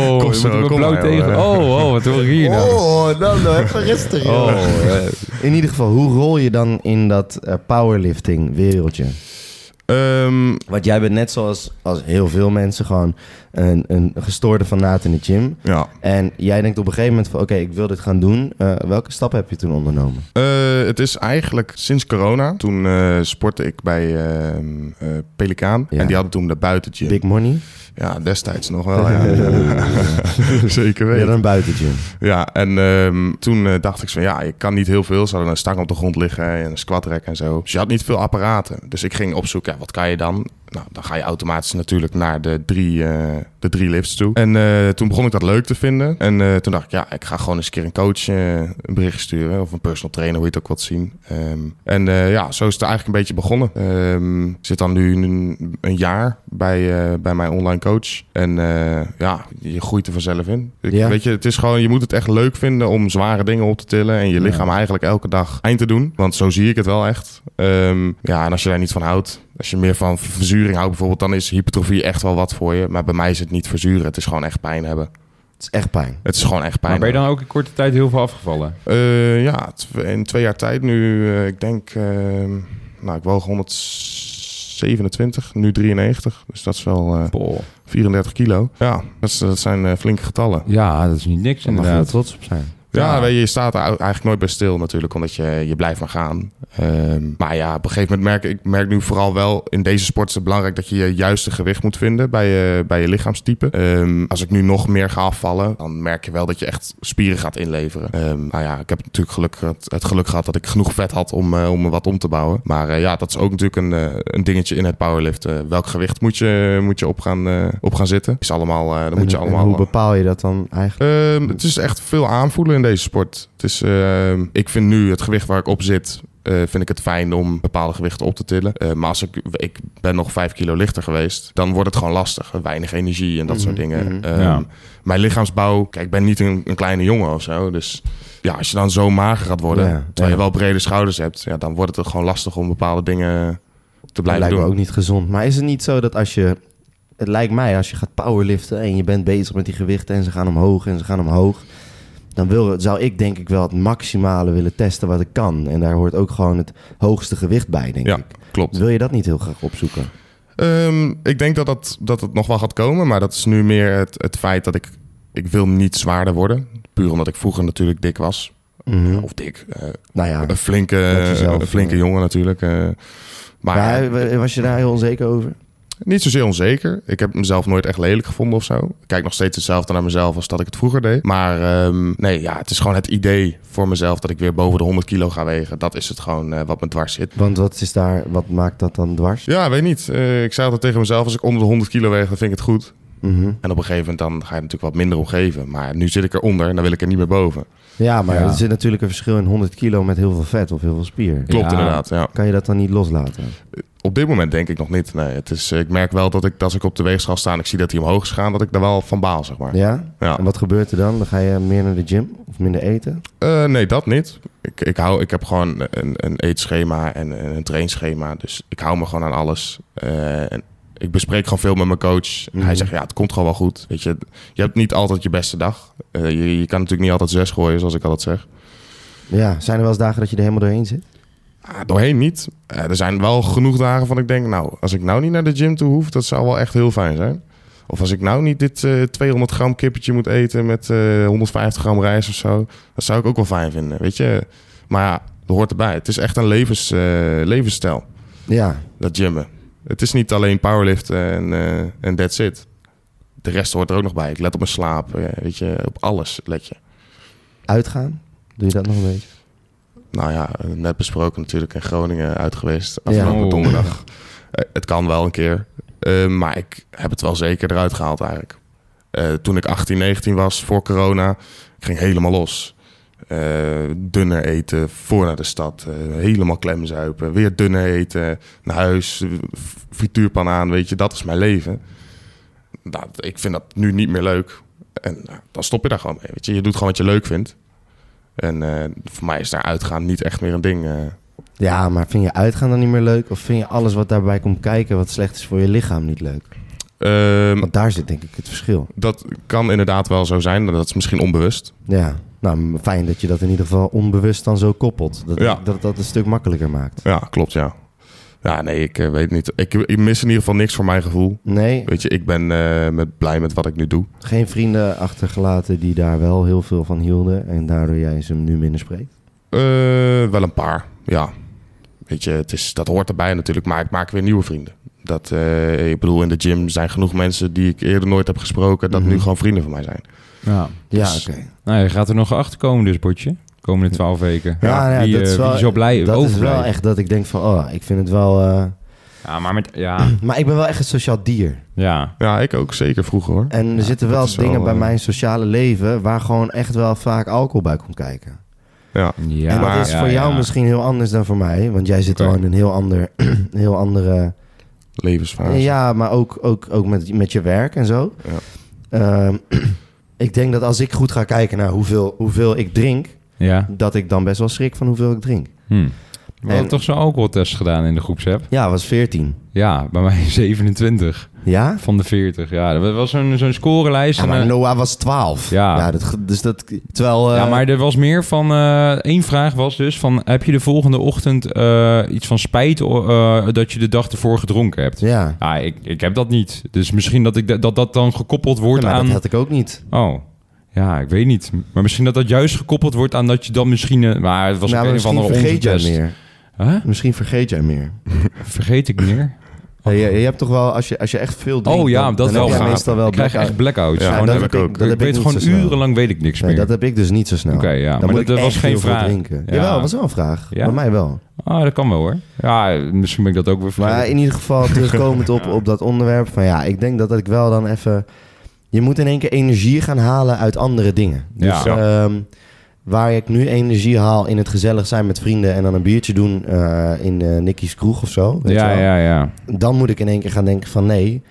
Speaker 3: Oh,
Speaker 4: Kom
Speaker 3: je
Speaker 4: zo,
Speaker 3: moet hem
Speaker 4: kom
Speaker 3: blauw
Speaker 4: maar,
Speaker 3: tegen.
Speaker 4: joh.
Speaker 3: Oh, oh, wat hoor ik hier nou?
Speaker 1: Oh, dan nou, even rustig, joh.
Speaker 4: eh.
Speaker 1: In ieder geval, hoe rol je dan in dat eh, powerlifting wereldje?
Speaker 4: Ehm,
Speaker 1: Want jij bent net zoals als heel veel mensen gewoon een, een gestoorde fanaat in de gym.
Speaker 4: ja.
Speaker 1: En jij denkt op een gegeven moment van, oké, ik wil dit gaan doen. Eh, welke stappen heb je toen ondernomen?
Speaker 4: Eh, het is eigenlijk sinds corona. Toen eh, sportte ik bij ehm, eh, Pelikaan.
Speaker 1: Ja.
Speaker 4: En die hadden toen de buitengym.
Speaker 1: Big
Speaker 4: (laughs)
Speaker 1: money?
Speaker 4: Ja, destijds nog wel. Oh,
Speaker 1: (laughs)
Speaker 4: Ja.
Speaker 3: (laughs)
Speaker 4: Zeker
Speaker 1: Ja,
Speaker 4: weten.
Speaker 1: dan buiten gym.
Speaker 4: Ja, en ehm, toen eh, dacht ik zo, ja, ik kan niet heel veel. Ze hadden een stang op de grond liggen en een squatrek en zo. Dus je had niet veel apparaten. Dus ik ging opzoeken, ja, wat kan je dan? Nou, dan ga je automatisch natuurlijk naar de drie, eh, de drie lifts toe. En eh, toen begon ik dat leuk te vinden. En eh, toen dacht ik, ja, ik ga gewoon eens een keer een coach eh, een bericht sturen. Of een personal trainer, hoe je het ook wilt zien. Ehm, en eh, ja, zo is het eigenlijk een beetje begonnen. Ehm, ik zit dan nu een, een jaar bij, eh, bij mijn online coach. En eh, ja, je groeit er vanzelf in. Ik,
Speaker 1: Ja.
Speaker 4: Weet je, het is gewoon, je moet het echt leuk vinden om zware dingen op te tillen. En je lichaam eigenlijk elke dag eind te doen. Want zo zie ik het wel echt. Ehm, ja, en als je daar niet van houdt. Als je meer van verzuring houdt bijvoorbeeld, dan is hypertrofie echt wel wat voor je. Maar bij mij is het niet verzuren. Het is gewoon echt pijn hebben.
Speaker 1: Het is echt pijn.
Speaker 4: Het is gewoon echt pijn.
Speaker 3: Maar ben je dan ook in korte tijd heel veel afgevallen?
Speaker 4: Eh, ja, tw- in twee jaar tijd nu, eh, ik denk, ehm, nou, ik woog 127, nu 93. Dus dat is wel eh,
Speaker 3: Boah.
Speaker 4: 34 kilo. Ja, dat, is- dat zijn eh, flinke getallen.
Speaker 3: Ja, dat is niet niks
Speaker 1: Daar mag je wel
Speaker 3: inderdaad.
Speaker 1: trots op zijn.
Speaker 4: Ja,
Speaker 3: Ja.
Speaker 4: weet je, je staat er ou- eigenlijk nooit bij stil natuurlijk, omdat je, je blijft maar gaan. Ehm, maar ja, op een gegeven moment merk ik merk nu vooral wel, in deze sport is het belangrijk dat je je juiste gewicht moet vinden bij je, bij je lichaamstype. Ehm, als ik nu nog meer ga afvallen, dan merk je wel dat je echt spieren gaat inleveren. Ehm nou ja, ik heb natuurlijk geluk, het, het geluk gehad dat ik genoeg vet had om, eh, om me wat om te bouwen. Maar eh, ja, dat is ook natuurlijk een, eh, een dingetje in het powerliften. Welk gewicht moet je, moet je op, gaan, eh, op gaan zitten? Is allemaal, eh, dan moet je
Speaker 1: En- en
Speaker 4: allemaal...
Speaker 1: hoe bepaal je dat dan eigenlijk?
Speaker 4: Ehm, het is echt veel aanvoelen in deze sport. Het is, ehm, ik vind nu het gewicht waar ik op zit, eh, vind ik het fijn om bepaalde gewichten op te tillen. Eh, maar als ik, ik ben nog vijf kilo lichter geweest, dan wordt het gewoon lastig. Weinig energie en dat soort dingen. Ehm,
Speaker 3: Ja.
Speaker 4: Mijn lichaamsbouw, kijk, ik ben niet een, een kleine jongen of zo. Dus ja, als je dan zo mager gaat worden,
Speaker 1: Ja,
Speaker 4: terwijl
Speaker 1: ja.
Speaker 4: je wel brede schouders hebt, ja, dan wordt het gewoon lastig om bepaalde dingen te
Speaker 1: Dat
Speaker 4: blijven
Speaker 1: lijkt me
Speaker 4: doen.
Speaker 1: ook niet gezond. Maar is het niet zo dat als je... Het lijkt mij, als je gaat powerliften en je bent bezig met die gewichten... en ze gaan omhoog en ze gaan omhoog... dan wil, zou ik denk ik wel het maximale willen testen wat ik kan. En daar hoort ook gewoon het hoogste gewicht bij, denk
Speaker 4: Ja,
Speaker 1: ik.
Speaker 4: klopt.
Speaker 1: Wil je dat niet heel graag opzoeken?
Speaker 4: Ehm, ik denk dat, dat, dat het nog wel gaat komen, maar dat is nu meer het, het feit dat ik, ik wil niet zwaarder worden. Puur omdat ik vroeger natuurlijk dik was. Of dik. eh,
Speaker 1: Nou ja,
Speaker 4: een flinke,
Speaker 1: Met Mhm. jezelf,
Speaker 4: een flinke
Speaker 1: ja.
Speaker 4: jongen natuurlijk. eh. maar
Speaker 1: maar was je daar heel onzeker over?
Speaker 4: niet zozeer onzeker. Ik heb mezelf nooit echt lelijk gevonden of zo. Ik kijk nog steeds hetzelfde naar mezelf als dat ik het vroeger deed. Maar ehm, nee, ja, het is gewoon het idee voor mezelf dat ik weer boven de 100 kilo ga wegen. Dat is het gewoon eh, wat me dwars zit.
Speaker 1: Want wat, is daar, wat maakt dat dan dwars?
Speaker 4: Ja, weet niet. Eh, ik zei altijd tegen mezelf, als ik onder de 100 kilo weeg, dan vind ik het goed.
Speaker 1: Mhm.
Speaker 4: En op een gegeven moment dan ga je er natuurlijk wat minder om geven. Maar nu zit ik eronder en dan wil ik er niet meer boven.
Speaker 1: Ja, maar
Speaker 3: Ja.
Speaker 1: er zit natuurlijk een verschil in 100 kilo met heel veel vet of heel veel spier.
Speaker 3: Ja.
Speaker 4: Klopt inderdaad, ja.
Speaker 1: Kan je dat dan niet loslaten?
Speaker 4: Op dit moment denk ik nog niet. Nee, het is, ik merk wel dat ik, als ik op de weegschaal sta en ik zie dat hij omhoog is gegaan, dat ik daar wel van baal, zeg maar.
Speaker 1: Ja?
Speaker 4: Ja.
Speaker 1: En wat gebeurt er dan? Dan ga je meer naar de gym of minder eten?
Speaker 4: Eh, nee, dat niet. Ik, ik, hou, ik heb gewoon een, een eetschema en een trainschema. Dus ik hou me gewoon aan alles. Eh, en ik bespreek gewoon veel met mijn coach.
Speaker 1: Mhm.
Speaker 4: Hij zegt, ja, het komt gewoon wel goed. Weet je, je hebt niet altijd je beste dag. Eh, je, je kan natuurlijk niet altijd zes gooien, zoals ik altijd zeg.
Speaker 1: Ja, zijn er wel eens dagen dat je er helemaal doorheen zit?
Speaker 4: Ah, doorheen niet. Eh, er zijn wel genoeg dagen van ik denk, nou, als ik nou niet naar de gym toe hoef, dat zou wel echt heel fijn zijn. Of als ik nou niet dit eh, 200 gram kippetje moet eten met eh, 150 gram rijst of zo, dat zou ik ook wel fijn vinden, weet je. Maar ja, dat hoort erbij. Het is echt een levens, eh, levensstijl,
Speaker 1: Ja,
Speaker 4: dat gymmen. Het is niet alleen powerliften en, eh, en that's it. De rest hoort er ook nog bij. Ik let op mijn slaap, eh, weet je, op alles let je.
Speaker 1: uitgaan. Doe je dat nog een beetje?
Speaker 4: Nou ja, net besproken natuurlijk in Groningen uit geweest. Afgelopen
Speaker 3: Oh.
Speaker 4: donderdag. Eh, Het kan wel een keer. Eh, maar ik heb het wel zeker eruit gehaald eigenlijk. Eh, toen ik 18, 19 was, voor corona, ik ging helemaal los. Eh, dunner eten, voor naar de stad. eh, helemaal klemzuipen. Weer dunner eten, naar huis, eh, f- frituurpan aan. Weet je, dat is mijn leven. Nou, ik vind dat nu niet meer leuk. En nou, dan stop je daar gewoon mee. Weet je. je doet gewoon wat je leuk vindt. En eh, voor mij is daar uitgaan niet echt meer een ding. eh.
Speaker 1: Ja, maar vind je uitgaan dan niet meer leuk? Of vind je alles wat daarbij komt kijken, wat slecht is voor je lichaam, niet leuk?
Speaker 4: Hm. Ehm,
Speaker 1: Want daar zit denk ik het verschil.
Speaker 4: dat kan inderdaad wel zo zijn. Dat is misschien onbewust.
Speaker 1: Ja, nou m- fijn dat je dat in ieder geval onbewust dan zo koppelt. Dat
Speaker 4: Ja.
Speaker 1: dat, dat een stuk makkelijker maakt.
Speaker 4: Ja, klopt, ja. Ja, nee, ik eh, weet niet. Ik, ik mis in ieder geval niks voor mijn gevoel.
Speaker 1: Nee,
Speaker 4: Weet je, ik ben eh, met, blij met wat ik nu doe.
Speaker 1: geen vrienden achtergelaten die daar wel heel veel van hielden. En daardoor jij ze nu minder spreekt.
Speaker 4: Eh, wel een paar, ja. Weet je, het is, dat hoort erbij natuurlijk, maar ik maak weer nieuwe vrienden. Dat, eh, ik bedoel, in de gym zijn genoeg mensen die ik eerder nooit heb gesproken... dat
Speaker 1: Mhm.
Speaker 4: nu gewoon vrienden van mij zijn.
Speaker 3: Ja.
Speaker 1: Ja,
Speaker 4: Dus-
Speaker 1: oké.
Speaker 3: Nou, je gaat er nog achter komen dus, Botje. Komende twaalf weken.
Speaker 1: Ja, ja,
Speaker 3: wie,
Speaker 1: dat
Speaker 3: eh,
Speaker 1: is wel,
Speaker 3: wie zo blij
Speaker 1: dat is
Speaker 3: overblijft.
Speaker 1: wel echt dat ik denk van, oh, ik vind het wel... eh,
Speaker 3: Ja, maar met...
Speaker 1: (clears throat)
Speaker 3: Ja,
Speaker 1: Maar ik ben wel echt een sociaal dier.
Speaker 3: ja.
Speaker 4: Ja, ik ook zeker vroeger, hoor.
Speaker 1: En er
Speaker 4: Ja,
Speaker 1: zitten
Speaker 4: dat
Speaker 1: wel
Speaker 4: is wel,
Speaker 1: dingen bij
Speaker 4: eh,
Speaker 1: mijn sociale leven waar gewoon echt wel vaak alcohol bij komt kijken.
Speaker 4: Ja.
Speaker 3: ja
Speaker 1: en dat
Speaker 4: maar-
Speaker 1: is voor jou misschien heel anders dan voor mij, want jij zit
Speaker 3: Oké.
Speaker 1: al in een heel, ander, (clears throat) een heel andere...
Speaker 4: Levensfase.
Speaker 1: Ja, maar ook, ook, ook met, met je werk en zo.
Speaker 4: Ja.
Speaker 1: Ehm, (clears throat) ik denk dat als ik goed ga kijken naar hoeveel, hoeveel ik drink,
Speaker 3: Ja.
Speaker 1: dat ik dan best wel schrik van hoeveel ik drink.
Speaker 3: Hm. We
Speaker 1: En-
Speaker 3: hadden toch zo'n alcoholtest gedaan in de groepsapp?
Speaker 1: Ja, was 14.
Speaker 3: Ja, bij mij (laughs) 27
Speaker 1: Ja?
Speaker 3: van de 40. Ja, dat was zo'n zo'n scorelijst.
Speaker 1: Ja,
Speaker 3: en, eh,
Speaker 1: maar Noah was 12.
Speaker 3: Ja.
Speaker 1: dat, ge- dus dat, terwijl... eh,
Speaker 3: Ja, maar er was meer van... eh één vraag was dus van... Heb je de volgende ochtend eh, iets van spijt eh, dat je de dag ervoor gedronken hebt?
Speaker 1: Ja,
Speaker 3: Ja, ik, ik heb dat niet. Dus misschien dat ik da- dat, dat dan gekoppeld
Speaker 1: Ja,
Speaker 3: wordt
Speaker 1: maar
Speaker 3: aan...
Speaker 1: dat had ik ook niet.
Speaker 3: Oh, ja, ik weet niet. Maar misschien dat dat juist gekoppeld wordt aan dat je dan misschien... eh, Maar het was
Speaker 1: Nou,
Speaker 3: ook een of
Speaker 1: misschien
Speaker 3: andere Oh.
Speaker 1: vergeet jij
Speaker 3: ongetest.
Speaker 1: meer.
Speaker 3: Huh?
Speaker 1: Misschien vergeet jij meer.
Speaker 3: Vergeet ik meer?
Speaker 1: je, je hebt toch wel, als je, als je echt veel drinkt,
Speaker 3: Oh ja,
Speaker 1: (laughs) dan-
Speaker 3: dat
Speaker 1: dan
Speaker 3: wel
Speaker 1: heb jij
Speaker 3: gaaf.
Speaker 1: meestal wel
Speaker 3: Ik krijg
Speaker 1: blackout.
Speaker 3: echt blackouts.
Speaker 4: Ja,
Speaker 3: Gewoon
Speaker 1: dat
Speaker 3: even-
Speaker 1: heb ik ook. Dat
Speaker 3: Ik
Speaker 1: heb
Speaker 3: weet
Speaker 1: ik niet
Speaker 3: gewoon
Speaker 1: zo snel.
Speaker 3: urenlang weet ik niks
Speaker 1: Nee,
Speaker 3: meer.
Speaker 1: dat heb ik dus niet zo snel.
Speaker 3: Oké,
Speaker 1: Dan
Speaker 3: ja, maar
Speaker 1: moet
Speaker 3: dat-
Speaker 1: ik
Speaker 3: dat was
Speaker 1: echt
Speaker 3: geen
Speaker 1: heel veel
Speaker 3: vraag.
Speaker 1: Drinken.
Speaker 3: Ja.
Speaker 1: Jawel, dat was wel een vraag.
Speaker 3: Ja?
Speaker 1: Bij mij wel.
Speaker 3: Ah, dat kan wel hoor. Ja, misschien ben ik dat ook weer
Speaker 1: Maar
Speaker 3: vergeten.
Speaker 1: in ieder
Speaker 3: (laughs)
Speaker 1: geval, terugkomend op, op dat onderwerp, van ja, ik denk dat, dat ik wel dan even... Je moet in één keer energie gaan halen uit andere dingen. Dus, ehm, waar ik nu energie haal in het gezellig zijn met vrienden en dan een biertje doen eh, in eh Nicky's kroeg of zo. weet
Speaker 3: ja,
Speaker 1: je wel.
Speaker 3: ja, ja.
Speaker 1: Dan moet ik in één keer gaan denken van nee,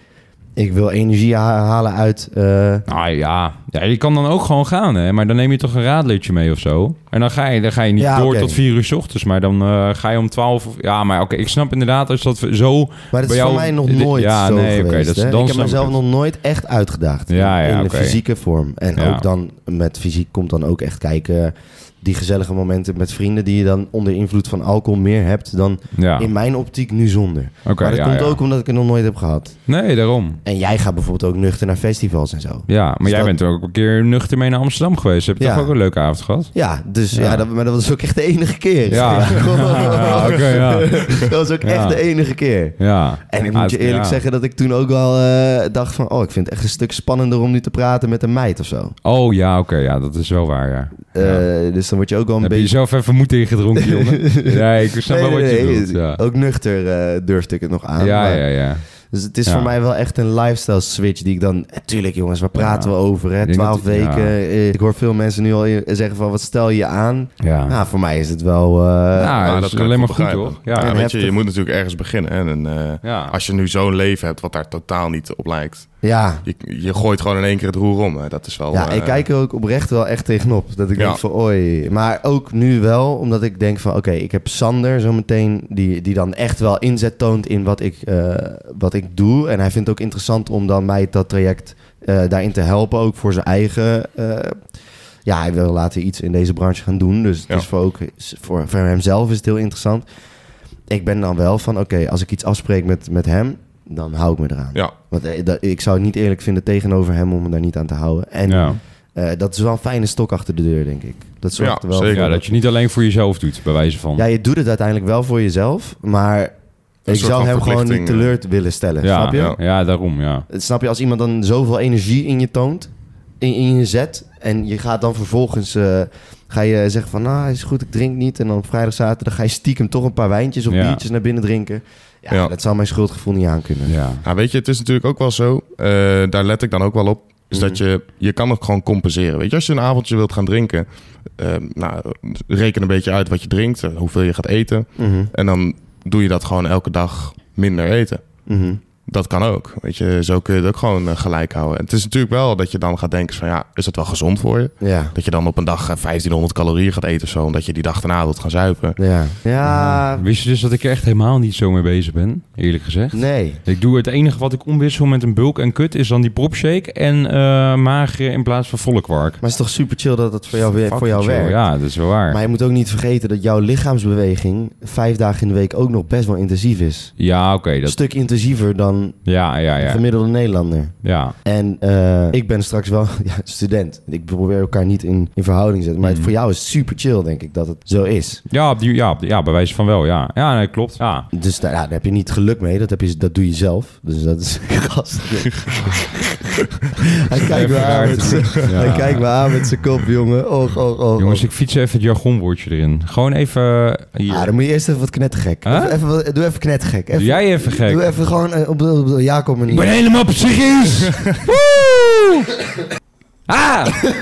Speaker 1: ik wil energie ha- halen uit... eh,
Speaker 3: Nou ja. ja, je kan dan ook gewoon gaan, hè. Maar dan neem je toch een raadleertje mee of zo. En dan ga je, dan ga je niet
Speaker 1: Ja,
Speaker 3: door
Speaker 1: oké.
Speaker 3: tot vier uur 's ochtends, maar dan eh, ga je om twaalf... Of, ja, maar oké, ik snap inderdaad als dat zo...
Speaker 1: Maar dat
Speaker 3: Bij
Speaker 1: is
Speaker 3: jou-
Speaker 1: voor mij nog
Speaker 3: dit-
Speaker 1: nooit
Speaker 3: ja,
Speaker 1: zo
Speaker 3: nee, oké,
Speaker 1: geweest.
Speaker 3: dat is-
Speaker 1: hè.
Speaker 3: dan
Speaker 1: ik heb
Speaker 3: snap ik
Speaker 1: mezelf
Speaker 3: het.
Speaker 1: nog nooit echt uitgedaagd.
Speaker 3: Ja, ja,
Speaker 1: in de
Speaker 3: oké.
Speaker 1: fysieke vorm. En
Speaker 3: Ja.
Speaker 1: ook dan met fysiek komt dan ook echt kijken... die gezellige momenten met vrienden... die je dan onder invloed van alcohol meer hebt... dan
Speaker 3: Ja,
Speaker 1: in
Speaker 3: oké,
Speaker 1: mijn optiek nu zonder. maar dat
Speaker 3: ja,
Speaker 1: komt
Speaker 3: ja.
Speaker 1: ook omdat ik het nog nooit heb gehad.
Speaker 3: Nee, daarom.
Speaker 1: En jij gaat bijvoorbeeld ook nuchter naar festivals en zo.
Speaker 3: Ja, maar
Speaker 1: Dus
Speaker 3: jij
Speaker 1: dat-
Speaker 3: bent ook een keer nuchter mee naar Amsterdam geweest. Heb je
Speaker 1: Ja.
Speaker 3: toch ook een leuke avond gehad?
Speaker 1: Ja, dus ja.
Speaker 3: Ja.
Speaker 1: dat, maar dat was ook echt de enige keer.
Speaker 3: Ja. (laughs) Ja, oké, ja.
Speaker 1: (laughs) dat was ook echt
Speaker 3: Ja.
Speaker 1: de enige keer.
Speaker 3: Ja.
Speaker 1: En ik
Speaker 3: Ah,
Speaker 1: moet je eerlijk
Speaker 3: ja.
Speaker 1: zeggen dat ik toen ook wel eh, dacht van... oh, ik vind het echt een stuk spannender om nu te praten met een meid of zo.
Speaker 3: Oh ja, oké, ja, dat is wel waar, ja.
Speaker 1: Eh, dus dan word je ook wel een
Speaker 3: Heb je
Speaker 1: beetje...
Speaker 3: jezelf even moed ingedronken,
Speaker 1: (laughs)
Speaker 3: jongen? ja, ik snap wel
Speaker 1: Nee,
Speaker 3: wat
Speaker 1: nee,
Speaker 3: je
Speaker 1: nee,
Speaker 3: bedoelt. Ja,
Speaker 1: Ook nuchter eh, durfde ik het nog aan.
Speaker 3: ja,
Speaker 1: maar-
Speaker 3: ja. ja.
Speaker 1: Dus het is
Speaker 3: Ja.
Speaker 1: voor mij wel echt een lifestyle switch die ik dan... eh, Tuurlijk jongens, waar praten
Speaker 3: Ja.
Speaker 1: we over?
Speaker 3: Ik
Speaker 1: Hè?
Speaker 3: denk
Speaker 1: Twaalf
Speaker 3: dat- ja.
Speaker 1: weken. eh, Ik hoor veel mensen nu al eh, zeggen van wat stel je aan?
Speaker 3: ja.
Speaker 1: Nou, voor mij is het wel... eh,
Speaker 3: Ja, dat is
Speaker 4: kan ik
Speaker 3: alleen maar
Speaker 4: wel
Speaker 3: goed,
Speaker 4: begrijpen.
Speaker 3: toch? Ja.
Speaker 4: Ja,
Speaker 1: En
Speaker 4: weet je,
Speaker 1: heftig.
Speaker 4: je moet natuurlijk ergens beginnen. hè. En, eh,
Speaker 3: Ja.
Speaker 4: Als je nu zo'n leven hebt wat daar totaal niet op lijkt.
Speaker 1: ja.
Speaker 4: Je, je gooit gewoon in één keer het roer om. Hè. Dat is wel...
Speaker 1: Ja,
Speaker 4: eh,
Speaker 1: ik kijk er ook oprecht wel echt tegenop. Dat ik
Speaker 4: Ja.
Speaker 1: denk van, oei. Maar ook nu wel, omdat ik denk van, oké, ik heb Sander zometeen... Die, die dan echt wel inzet toont in wat ik, eh, wat ik doe. En hij vindt het ook interessant om dan mij dat traject eh, daarin te helpen. Ook voor zijn eigen eh, ja, hij wil later iets in deze branche gaan doen. Dus het
Speaker 4: Ja.
Speaker 1: is voor, ook, is voor, voor hemzelf is het heel interessant. Ik ben dan wel van, oké, als ik iets afspreek met, met hem, dan hou ik me eraan.
Speaker 4: Ja.
Speaker 1: Want eh, dat- ik zou het niet eerlijk vinden tegenover hem om me daar niet aan te houden. En
Speaker 3: ja.
Speaker 1: eh, dat is wel een fijne stok achter de deur, denk ik. Dat zorgt
Speaker 4: Ja,
Speaker 1: er wel
Speaker 4: zeker.
Speaker 1: voor
Speaker 3: ja, dat je niet alleen voor jezelf doet, bij wijze van.
Speaker 1: ja, je doet het uiteindelijk wel voor jezelf, maar ik
Speaker 4: soort
Speaker 1: zou
Speaker 4: van
Speaker 1: hem gewoon niet
Speaker 4: verplichting,
Speaker 1: teleur willen stellen.
Speaker 3: eh. ja,
Speaker 1: Snap je?
Speaker 3: ja, ja, daarom, ja.
Speaker 1: Het- Snap je, als iemand dan zoveel energie in je toont, in, in je zet, en je gaat dan vervolgens eh, ga je zeggen van, nou is goed, ik drink niet. En dan op vrijdag, zaterdag ga je stiekem toch een paar wijntjes of
Speaker 3: Ja.
Speaker 1: biertjes naar binnen drinken. Ja,
Speaker 4: Ja.
Speaker 1: dat zou mijn schuldgevoel niet aankunnen.
Speaker 3: Ja,
Speaker 4: Ja, Nou, weet je, het is natuurlijk ook wel zo, eh, daar let ik dan ook wel op, is dat je, je kan het gewoon compenseren. Weet je, als je een avondje wilt gaan drinken, eh, nou, reken een beetje uit wat je drinkt, eh, hoeveel je gaat eten.
Speaker 1: Mhm,
Speaker 4: En dan doe je dat gewoon elke dag minder eten.
Speaker 1: mhm.
Speaker 4: Dat kan ook, weet je, zo kun je het ook gewoon eh, gelijk houden. En het is natuurlijk wel dat je dan gaat denken van, ja, is dat wel gezond voor je?
Speaker 1: Ja.
Speaker 4: Dat je dan op een dag eh, 1500 calorieën gaat eten of zo, omdat je die dag daarna wilt gaan zuipen.
Speaker 1: Ja. Ja.
Speaker 3: Wist je dus dat ik er echt helemaal niet zo mee bezig ben, eerlijk gezegd?
Speaker 1: Nee.
Speaker 3: Ik doe het enige wat ik omwissel met een bulk en kut is dan die propshake en eh mager in plaats van volle kwark.
Speaker 1: Maar het is toch super chill dat het voor jou, weer- voor
Speaker 3: Fucking
Speaker 1: jou
Speaker 3: chill,
Speaker 1: werkt.
Speaker 3: Ja, dat is wel waar.
Speaker 1: Maar je moet ook niet vergeten dat jouw lichaamsbeweging vijf dagen in de week ook nog best wel intensief is.
Speaker 3: Ja, oké.
Speaker 1: Een
Speaker 3: dat...
Speaker 1: stuk intensiever dan
Speaker 3: Ja, ja,
Speaker 1: de
Speaker 3: ja.
Speaker 1: gemiddelde Nederlander.
Speaker 3: Ja,
Speaker 1: En eh, ik ben straks wel (laughs) ja, student. Ik probeer elkaar niet in, in verhouding te zetten. Maar het-
Speaker 3: Mhm.
Speaker 1: voor jou is het super chill, denk ik, dat het zo is.
Speaker 3: ja, op die, ja, op die- ja bij wijze van wel, ja. Ja, nee, klopt. Ja.
Speaker 1: Dus daar, ja, daar heb je niet geluk mee. Dat, heb je, dat doe je zelf. Dus dat is (laughs) gast. Hij kijkt me aan met zijn-
Speaker 3: Ja.
Speaker 1: (laughs) hij kijkt me aan met zijn kop, jongen. Och, och, och.
Speaker 3: Jongens,
Speaker 1: och.
Speaker 3: ik fiets even het jargonwoordje erin. Gewoon even... eh, hier.
Speaker 1: Ah, dan moet je eerst even wat knettergek.
Speaker 3: Huh?
Speaker 1: Even, even wat- doe even knettergek.
Speaker 3: Doe
Speaker 1: Even,
Speaker 3: jij even gek.
Speaker 1: Doe even gewoon eh, op de, op de Jacob manier.
Speaker 3: Ik ben helemaal (laughs) psychisch. Woe! Ah! Oké,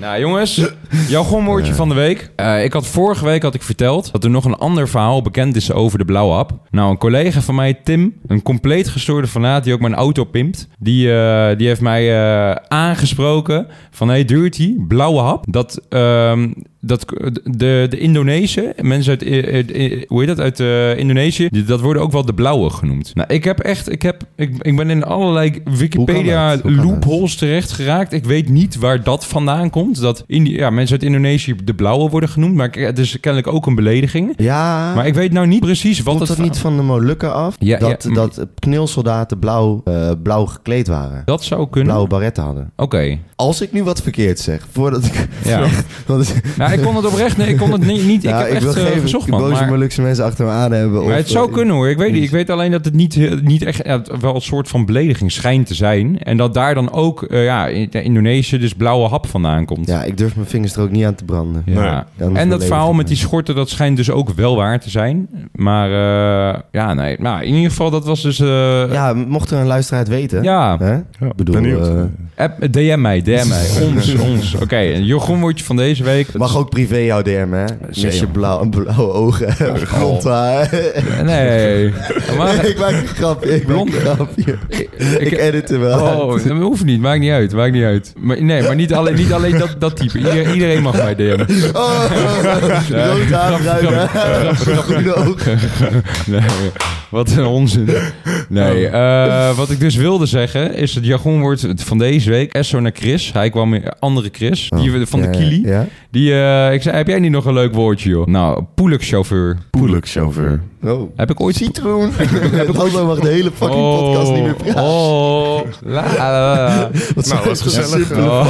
Speaker 3: nou jongens, jouw gomwoordje van de week. Eh, ik had vorige week had ik verteld dat er nog een ander verhaal bekend is over de blauwaap. Nou, een collega van mij, Tim, een compleet gestoorde fanaat die ook mijn auto pimpt. Die, eh, die heeft mij eh, aangesproken van, hey Dirty, blauwe hap. Dat, ehm, dat k- de, de Indonesiën, mensen uit, eh, eh, hoe heet dat, uit eh, Indonesië, die- dat worden ook wel de blauwe genoemd. Nou, ik heb echt, ik, heb, ik, ik ben in allerlei Wikipedia
Speaker 1: dat? Hoe kan dat?
Speaker 3: loopholes ons terecht geraakt. Ik weet niet waar dat vandaan komt. Dat Indi- ja, mensen uit Indonesië de blauwe worden genoemd. Maar k- het is kennelijk ook een belediging.
Speaker 1: Ja,
Speaker 3: Maar ik weet nou niet precies wat
Speaker 1: komt
Speaker 3: het
Speaker 1: dat niet van de Molukken af?
Speaker 3: Ja,
Speaker 1: dat,
Speaker 3: ja, mm. maar-
Speaker 1: dat knilsoldaten blauw, eh, blauw gekleed waren.
Speaker 3: Dat zou kunnen.
Speaker 1: Blauwe baretten hadden.
Speaker 3: Oké.
Speaker 1: Als ik nu wat verkeerd zeg, voordat ik... (laughs)
Speaker 3: Ja.
Speaker 1: Want,
Speaker 3: Nou, ik kon het oprecht. Nee, ik kon het niet. niet ik
Speaker 1: Ja,
Speaker 3: heb echt
Speaker 1: wil
Speaker 3: eh,
Speaker 1: geen
Speaker 3: gezocht, man.
Speaker 1: boze
Speaker 3: Maar,
Speaker 1: Molukse mensen achter me aan hebben.
Speaker 3: maar
Speaker 1: of,
Speaker 3: het zou
Speaker 1: eh,
Speaker 3: kunnen hoor. Ik weet niet. Ik weet alleen dat het niet, heel- niet echt ja, het wel een soort van belediging schijnt te zijn. En dat daar dan ook eh, ja, in in Indonesië dus blauwe hap vandaan komt.
Speaker 1: Ja, ik durf mijn vingers er ook niet aan te branden.
Speaker 3: Ja.
Speaker 1: Nee.
Speaker 3: En dat verhaal met die
Speaker 1: Belediging.
Speaker 3: schorten, dat schijnt dus ook wel waar te zijn. Maar eh, ja, nee. Nou, in ieder geval, dat was dus... eh,
Speaker 1: Ja, mocht er een luisteraar het weten...
Speaker 3: ja.
Speaker 1: Hè?
Speaker 4: Ja,
Speaker 1: bedoel,
Speaker 4: benieuwd.
Speaker 1: eh,
Speaker 3: App, DM mij,
Speaker 1: (laughs)
Speaker 3: DM mij. Ons, ons. Oké, een joggenwoordje van deze week.
Speaker 1: Mag ook privé jouw DM, hè? Met je
Speaker 3: Zeker.
Speaker 1: blauw, blauwe ogen (laughs) en blond haar. (laughs)
Speaker 3: Nee. Maar,
Speaker 1: ik maak een grapje, ik maak een
Speaker 3: Blond.
Speaker 1: grapje.
Speaker 3: ik,
Speaker 1: Ik edit er wel uit.
Speaker 3: Oh, dat hoeft niet. Maakt niet uit. Maakt niet uit. Maar, nee, maar niet alleen, niet alleen dat, dat type. Ieder- iedereen mag mij DM'en.
Speaker 1: Oh,
Speaker 3: (laughs) Ja.
Speaker 1: rood haar, bruin haar, groene ogen.
Speaker 3: Nee, wat een onzin. Nee,
Speaker 1: Oh.
Speaker 3: eh, wat ik dus wilde zeggen is het jargonwoord van deze week. Esso naar Chris. Hij kwam met andere Chris. Die van de
Speaker 1: Oh. Ja,
Speaker 3: Kili.
Speaker 1: Ja,
Speaker 3: Die, eh, ik zei, heb jij niet nog een leuk woordje, joh? Nou, poelukchauffeur.
Speaker 4: Poelukchauffeur.
Speaker 1: Oh.
Speaker 3: Heb (laughs) ik ooit...
Speaker 1: Citroen. Lando mag de hele fucking podcast niet meer praten.
Speaker 3: Oh, la, la, la.
Speaker 1: (laughs) Wat
Speaker 4: Nou, was gezellig.
Speaker 3: Oh.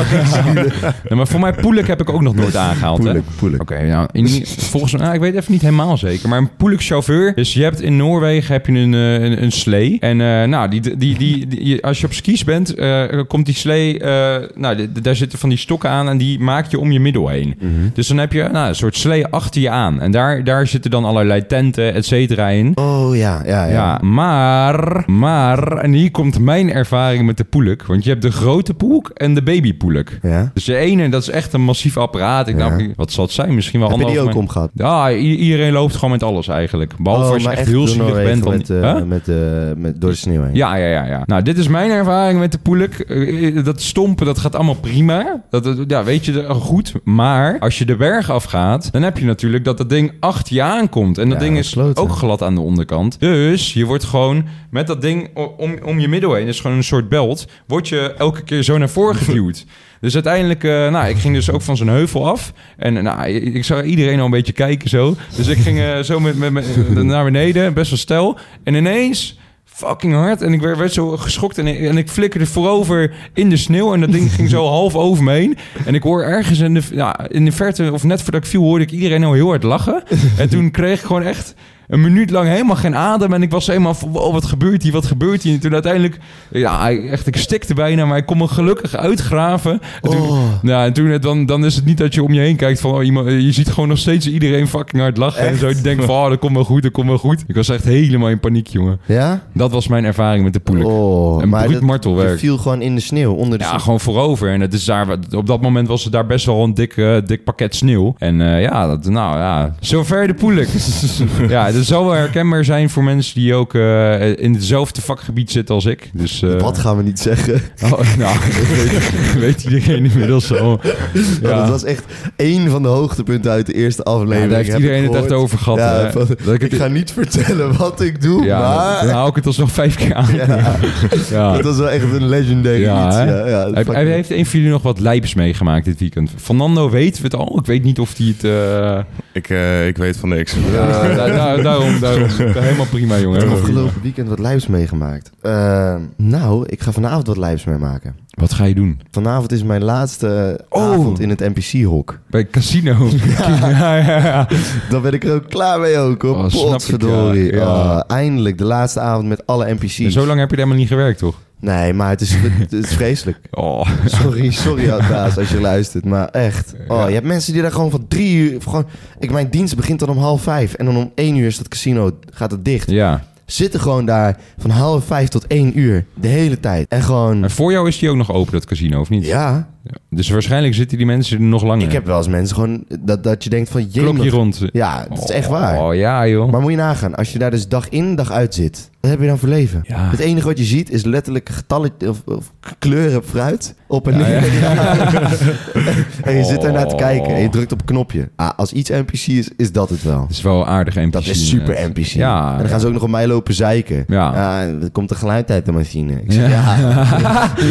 Speaker 3: (laughs) Ja, maar voor mij Poelik heb ik ook nog nooit
Speaker 1: (laughs)
Speaker 3: aangehaald. hè?
Speaker 1: Poelik, poelik.
Speaker 3: Oké, nou, in i- volgens mij, nou, ik weet even niet helemaal zeker, maar een Poelik chauffeur. Dus je hebt in Noorwegen heb je een, eh, een, een slee. En eh, nou, die, die, die, die, die- als je op skis bent, eh, komt die slee, eh, nou, d- d- daar zitten van die stokken aan en die maak je om je middel heen.
Speaker 1: Mhm.
Speaker 3: Dus dan heb je nou, een soort slee achter je aan. En daar, daar zitten dan allerlei tenten, et cetera, in.
Speaker 1: Oh ja, ja, ja.
Speaker 3: Ja, maar, maar, en hier komt mijn ervaring met de poeluk. Want je hebt de grote poelk en de babypoeluk.
Speaker 1: Ja?
Speaker 3: Dus de ene, dat is echt een massief apparaat. Ik
Speaker 1: Ja.
Speaker 3: nou, wat zal het zijn? Misschien wel
Speaker 1: Heb je die
Speaker 3: anderhalf
Speaker 1: ook omgehad?
Speaker 3: meter. Ja, i- iedereen loopt gewoon met alles eigenlijk. Behalve
Speaker 1: Oh,
Speaker 3: als je
Speaker 1: maar
Speaker 3: echt, heel
Speaker 1: door
Speaker 3: zielig
Speaker 1: Noorwegen
Speaker 3: bent. Dan,
Speaker 1: Met, eh,
Speaker 3: Huh?
Speaker 1: met, eh, met, door de sneeuw heen.
Speaker 3: Ja, ja, ja, ja. Nou, dit is mijn ervaring met de poelik. Eh, eh, Dat stompen, dat gaat allemaal prima. Dat, dat- ja, weet je eh, goed. Maar als je de berg afgaat, dan heb je natuurlijk dat dat ding achter je aankomt. En dat
Speaker 1: Ja,
Speaker 3: ding
Speaker 1: dat
Speaker 3: is
Speaker 1: kloten.
Speaker 3: ook glad aan de onderkant. Dus je wordt gewoon met dat ding o- om, om je middel heen, dat is gewoon een soort belt, word je elke keer zo naar voren geduwd. Dus uiteindelijk, eh, nou, ik ging dus ook van zo'n heuvel af. En eh, nou, ik, ik zag iedereen al een beetje kijken zo. Dus ik ging eh, zo met, met, met- naar beneden, best wel stel. En ineens fucking hard. En ik werd, werd zo geschokt en, en ik flikkerde voorover in de sneeuw. En dat ding ging zo half over me heen. En ik hoor ergens in de, ja, in de verte, of net voordat ik viel, hoorde ik iedereen al heel hard lachen. En toen kreeg ik gewoon echt een minuut lang helemaal geen adem. En ik was helemaal van, wow, wat gebeurt hier, wat gebeurt hier? En toen uiteindelijk, ja, echt, ik stikte bijna, maar ik kon me gelukkig uitgraven. En toen, ja, en toen, het- dan, dan is het niet dat je om je heen kijkt van, oh, iemand, je ziet gewoon nog steeds iedereen fucking hard lachen. En zo, die denkt van, oh, dat komt wel goed, dat komt wel goed. Ik was echt helemaal in paniek, jongen.
Speaker 1: Ja?
Speaker 3: Dat was mijn ervaring met de poelen.
Speaker 1: Oh,
Speaker 3: Een bruut
Speaker 1: dat-
Speaker 3: martelwerk.
Speaker 1: Je viel gewoon in de sneeuw, onder de
Speaker 3: Ja,
Speaker 1: sneeuw.
Speaker 3: gewoon voorover. En het is daar, op dat moment was het daar best wel een dik, eh, dik pakket sneeuw. En eh, ja, dat, nou ja, zover de poelik. ja, dat zal wel herkenbaar zijn voor mensen die ook eh, in hetzelfde vakgebied zitten als ik. Dus, eh,
Speaker 1: Wat gaan we niet zeggen?
Speaker 3: (laughs) oh, nou, (laughs) weet, weet iedereen inmiddels al.
Speaker 1: Ja.
Speaker 3: Ja.
Speaker 1: Dat was echt één van de hoogtepunten uit de eerste
Speaker 3: Ja,
Speaker 1: aflevering.
Speaker 3: daar heeft
Speaker 1: Heb ik
Speaker 3: iedereen het echt
Speaker 1: gehoord.
Speaker 3: over gehad.
Speaker 1: Ja,
Speaker 3: hè.
Speaker 1: van,
Speaker 3: dat ik
Speaker 1: ik
Speaker 3: het,
Speaker 1: ga niet vertellen wat ik doe,
Speaker 3: ja,
Speaker 1: maar...
Speaker 3: dan hou ik het alsnog vijf keer aan.
Speaker 1: Ja,
Speaker 3: (laughs) Ja.
Speaker 1: dat was wel echt een legendary
Speaker 3: Ja,
Speaker 1: iets.
Speaker 3: hè?
Speaker 1: Ja, ja,
Speaker 3: Heb,
Speaker 1: fuck.
Speaker 3: heb- heeft een van jullie nog wat lijps meegemaakt dit weekend? Fernando weten we het al. Ik weet niet of hij het... eh,
Speaker 4: Ik, eh, ik weet van niks.
Speaker 3: Ja, (laughs) da- da- Eh, daarom, daarom. Helemaal prima, jongen.
Speaker 1: Ik heb
Speaker 3: Helemaal prima.
Speaker 1: afgelopen weekend wat lijfs meegemaakt. Eh, nou, ik ga vanavond wat lijfs meemaken.
Speaker 3: Wat ga je doen?
Speaker 1: Vanavond is mijn laatste eh,
Speaker 3: Oh.
Speaker 1: avond in het NPC-hok.
Speaker 3: Bij het casino. (laughs) Ja, ja, ja.
Speaker 1: Dan ben ik er ook klaar mee ook, hoor.
Speaker 3: Oh, snap ik,
Speaker 1: Potverdorie.
Speaker 3: ja. Ja.
Speaker 1: Oh, eindelijk, de laatste avond met alle NPC's.
Speaker 3: Zo lang heb je er helemaal niet gewerkt, toch?
Speaker 1: Nee, maar het is, het is vreselijk.
Speaker 3: Oh.
Speaker 1: (laughs) Sorry, sorry baas als je luistert, maar echt. Oh, je hebt mensen die daar gewoon van drie uur... of Gewoon, ik, mijn dienst begint dan om half vijf en dan om één uur is dat casino, gaat het dicht.
Speaker 3: Ja.
Speaker 1: Zitten gewoon daar van half vijf tot één uur, de hele tijd. En gewoon,
Speaker 3: En voor jou is die ook nog open, dat casino, of niet?
Speaker 1: Hm. ja,
Speaker 3: Dus waarschijnlijk zitten die mensen er nog langer.
Speaker 1: ik heb wel eens mensen gewoon dat, dat je denkt van...
Speaker 3: Klokje
Speaker 1: jemig.
Speaker 3: rond.
Speaker 1: Ja, dat is echt waar.
Speaker 3: Oh, ja, joh.
Speaker 1: Maar moet je nagaan, als je daar dus dag in, dag uit zit, wat heb je dan voor leven?
Speaker 3: Ja.
Speaker 1: Het enige wat je ziet is letterlijk getallen of, of kleuren fruit op en
Speaker 3: Ja,
Speaker 1: neer. (laughs)
Speaker 3: ja.
Speaker 1: en je zit daarnaar te
Speaker 3: Oh.
Speaker 1: kijken en je drukt op een knopje. Ah, als iets NPC is, is dat het wel.
Speaker 3: Dat is wel aardig NPC.
Speaker 1: Dat is super
Speaker 3: inderdaad.
Speaker 1: NPC.
Speaker 3: Ja.
Speaker 1: en dan gaan ze ook nog op mij lopen zeiken.
Speaker 3: Ja.
Speaker 1: en er komt een geluid uit de machine. Ik zeg, ja.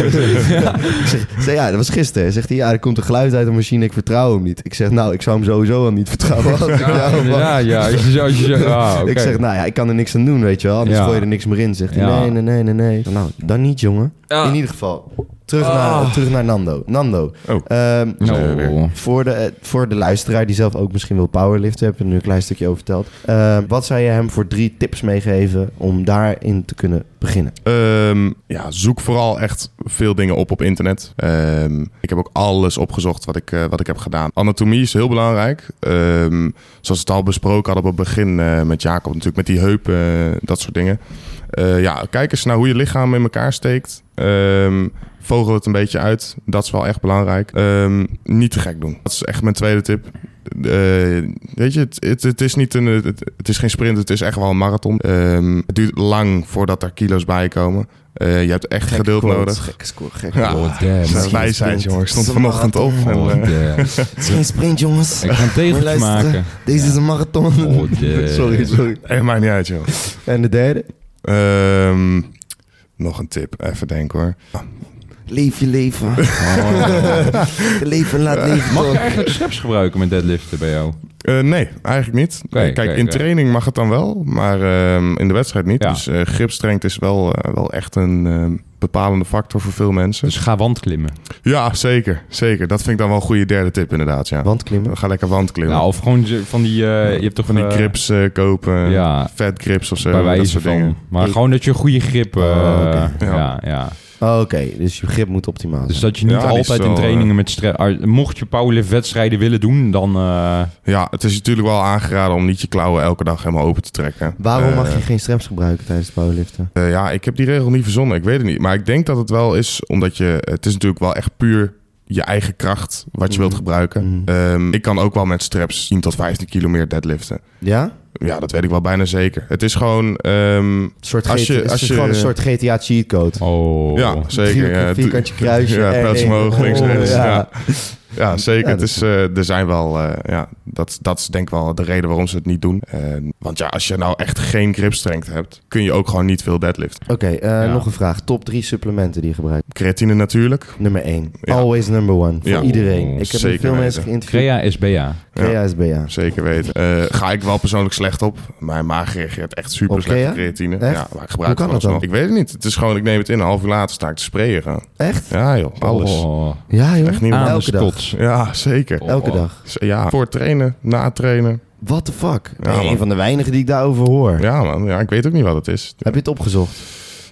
Speaker 1: ik zeg, ik zeg, ja, dat was gisteren. Zegt hij, ja, er komt een geluid uit de machine. Ik vertrouw hem niet. Ik zeg, nou, ik zou hem sowieso al niet vertrouwen als ik jou was.
Speaker 3: Ja, ja. Als je, zo- als je,
Speaker 1: (laughs)
Speaker 3: zo- ah, oké.
Speaker 1: Ik zeg, nou ja, ik kan er niks aan doen, weet je wel. Anders
Speaker 3: Ja.
Speaker 1: gooi je er niks meer in. Zegt hij,
Speaker 3: Ja.
Speaker 1: nee, nee, nee, nee, nee. Nou, dan niet, jongen. In ieder geval, terug, naar, terug naar Nando. Nando,
Speaker 4: Oh.
Speaker 1: ehm,
Speaker 4: eh, weer.
Speaker 3: Oh.
Speaker 1: voor, de, eh, voor de luisteraar die zelf ook misschien wil powerliften... heb je er nu een klein stukje over verteld. Ehm, wat zou je hem voor drie tips meegeven om daarin te kunnen beginnen?
Speaker 4: Ehm, ja, zoek vooral echt veel dingen op op internet. Ehm, ik heb ook alles opgezocht wat ik, eh, wat ik heb gedaan. Anatomie is heel belangrijk. Ehm, zoals we het al besproken hadden op het begin eh, met Jacob, natuurlijk met die heupen, eh, dat soort dingen. Eh, ja, kijk eens naar hoe je lichaam in elkaar steekt. Ehm, vogel het een beetje uit. Dat is wel echt belangrijk. Ehm, niet te gek doen. Dat is echt mijn tweede tip. Eh, weet je, het, het, het is niet een, het, het is geen sprint, het is echt wel een marathon. Ehm, het duurt lang voordat er kilo's bij komen. Eh, je hebt echt geduld nodig.
Speaker 1: Gek score, gek
Speaker 4: Ja.
Speaker 1: quote.
Speaker 3: Oh, damn.
Speaker 1: Misschien
Speaker 4: Wij zijn,
Speaker 1: sprint.
Speaker 4: jongen. Ik stond
Speaker 1: Het is een
Speaker 4: vanochtend op. En,
Speaker 3: Oh,
Speaker 4: eh,
Speaker 3: damn.
Speaker 1: Het is geen sprint, jongens.
Speaker 3: Ik ga een tegeltje
Speaker 1: Luisteren.
Speaker 3: maken.
Speaker 1: (laughs) Deze is een marathon.
Speaker 3: Oh, damn.
Speaker 1: sorry, sorry.
Speaker 4: echt maakt niet uit, joh.
Speaker 1: En de derde?
Speaker 4: Ehm, nog een tip, even denken hoor.
Speaker 1: Leef je leven.
Speaker 3: Oh.
Speaker 1: (laughs) Leven laat leven.
Speaker 3: Mag je
Speaker 1: toch?
Speaker 3: eigenlijk scheps gebruiken met deadliften bij jou?
Speaker 4: Eh, nee, eigenlijk niet.
Speaker 3: Oké,
Speaker 4: Eh, Kijk,
Speaker 3: oké,
Speaker 4: in
Speaker 3: oké.
Speaker 4: training mag het dan wel, maar ehm, in de wedstrijd niet.
Speaker 3: Ja.
Speaker 4: Dus eh gripstrength is wel, eh, wel echt een ehm, bepalende factor voor veel mensen.
Speaker 3: Dus ga wandklimmen.
Speaker 4: Ja, zeker. Zeker. Dat vind ik dan wel een goede derde tip inderdaad, ja.
Speaker 1: Wandklimmen.
Speaker 4: Ga lekker wandklimmen.
Speaker 3: Nou, of gewoon ze- van die... eh, je hebt toch
Speaker 4: Van die
Speaker 3: eh,
Speaker 4: grips eh, kopen,
Speaker 3: Ja.
Speaker 4: vet grips of zo,
Speaker 3: bij
Speaker 4: dat
Speaker 3: wijze
Speaker 4: soort
Speaker 3: van.
Speaker 4: dingen. Ah,
Speaker 3: Maar
Speaker 1: Ik-
Speaker 3: gewoon dat je een goede grip... eh,
Speaker 1: Oh, oké.
Speaker 3: ja.
Speaker 4: Ja.
Speaker 3: Ja,
Speaker 1: Oh, Oké, dus je grip moet optimaal
Speaker 3: Dus
Speaker 1: zijn.
Speaker 3: dat je niet
Speaker 4: Ja, die is
Speaker 3: altijd in
Speaker 4: wel, eh,
Speaker 3: trainingen met stress... Mocht je powerlift wedstrijden willen doen, dan... eh,
Speaker 4: Ja, het is natuurlijk wel aangeraden om niet je klauwen elke dag helemaal open te trekken.
Speaker 1: Waarom
Speaker 4: Eh,
Speaker 1: mag je geen straps gebruiken tijdens het powerliften?
Speaker 4: eh, ja, ik heb die regel niet verzonnen, ik weet het niet. Maar ik denk dat het wel is, omdat je... Het is natuurlijk wel echt puur je eigen kracht wat je wilt gebruiken.
Speaker 1: Mhm.
Speaker 4: Ehm, ik kan ook wel met straps 10 tot 15 kilo meer deadliften.
Speaker 1: Ja?
Speaker 4: Ja, dat weet ik wel bijna zeker. Het is gewoon... ehm,
Speaker 1: Een soort
Speaker 4: Als
Speaker 1: GT
Speaker 4: je-
Speaker 1: is
Speaker 4: als
Speaker 1: het
Speaker 4: je-
Speaker 1: gewoon een soort GTA cheat code.
Speaker 3: oh.
Speaker 4: Ja, zeker.
Speaker 1: Driehoek,
Speaker 4: ja. (laughs)
Speaker 1: vierkantje, kruisje, eh,
Speaker 4: Ja,
Speaker 1: R1.
Speaker 4: plaats omhoog, links,
Speaker 1: Oh,
Speaker 4: rechts.
Speaker 1: ja.
Speaker 4: Ja. Ja, zeker.
Speaker 1: Ja,
Speaker 4: het
Speaker 1: dat
Speaker 4: is, eh, er zijn wel eh, ja, Dat, dat is denk ik wel de reden waarom ze het niet doen. En- want ja, als je nou echt geen gripstrength hebt, kun je ook gewoon niet veel deadliften.
Speaker 1: Oké, eh,
Speaker 4: Ja.
Speaker 1: nog een vraag. Top drie supplementen die je gebruikt.
Speaker 4: Creatine natuurlijk.
Speaker 1: Nummer 1.
Speaker 4: Ja.
Speaker 1: Always number one. Voor
Speaker 4: Ja. Oh,
Speaker 1: iedereen. Ik heb
Speaker 4: Zeker
Speaker 1: met veel mensen
Speaker 4: weten.
Speaker 1: geïnterviewd.
Speaker 3: Crea SBA.
Speaker 4: Crea. Ja.
Speaker 1: KSBA. Ja.
Speaker 4: Zeker weten. Eh, ga ik wel persoonlijk slecht op. Mijn maag reageert echt super
Speaker 1: Op
Speaker 4: slecht
Speaker 1: Crea?
Speaker 4: op creatine.
Speaker 1: Echt?
Speaker 4: Ja, maar ik gebruik
Speaker 1: Hoe kan
Speaker 4: het gewoon
Speaker 1: dat dan?
Speaker 4: alsnog. Ik weet het niet. Het is gewoon, ik neem het in een half uur later sta ik te sprayen gaan.
Speaker 1: Echt?
Speaker 4: Ja joh, alles.
Speaker 3: Oh,
Speaker 1: Ja, joh.
Speaker 4: Echt niet normaal.
Speaker 1: Elke dag.
Speaker 3: aandeskots.
Speaker 4: Ja, zeker.
Speaker 1: Elke dag.
Speaker 4: Z- Ja, voor het trainen, na het trainen.
Speaker 1: What the fuck?
Speaker 4: Ja,
Speaker 1: een
Speaker 4: man.
Speaker 1: van de weinigen die ik daarover hoor.
Speaker 4: Ja man, ja, ik weet ook niet wat het is.
Speaker 1: Heb je het opgezocht?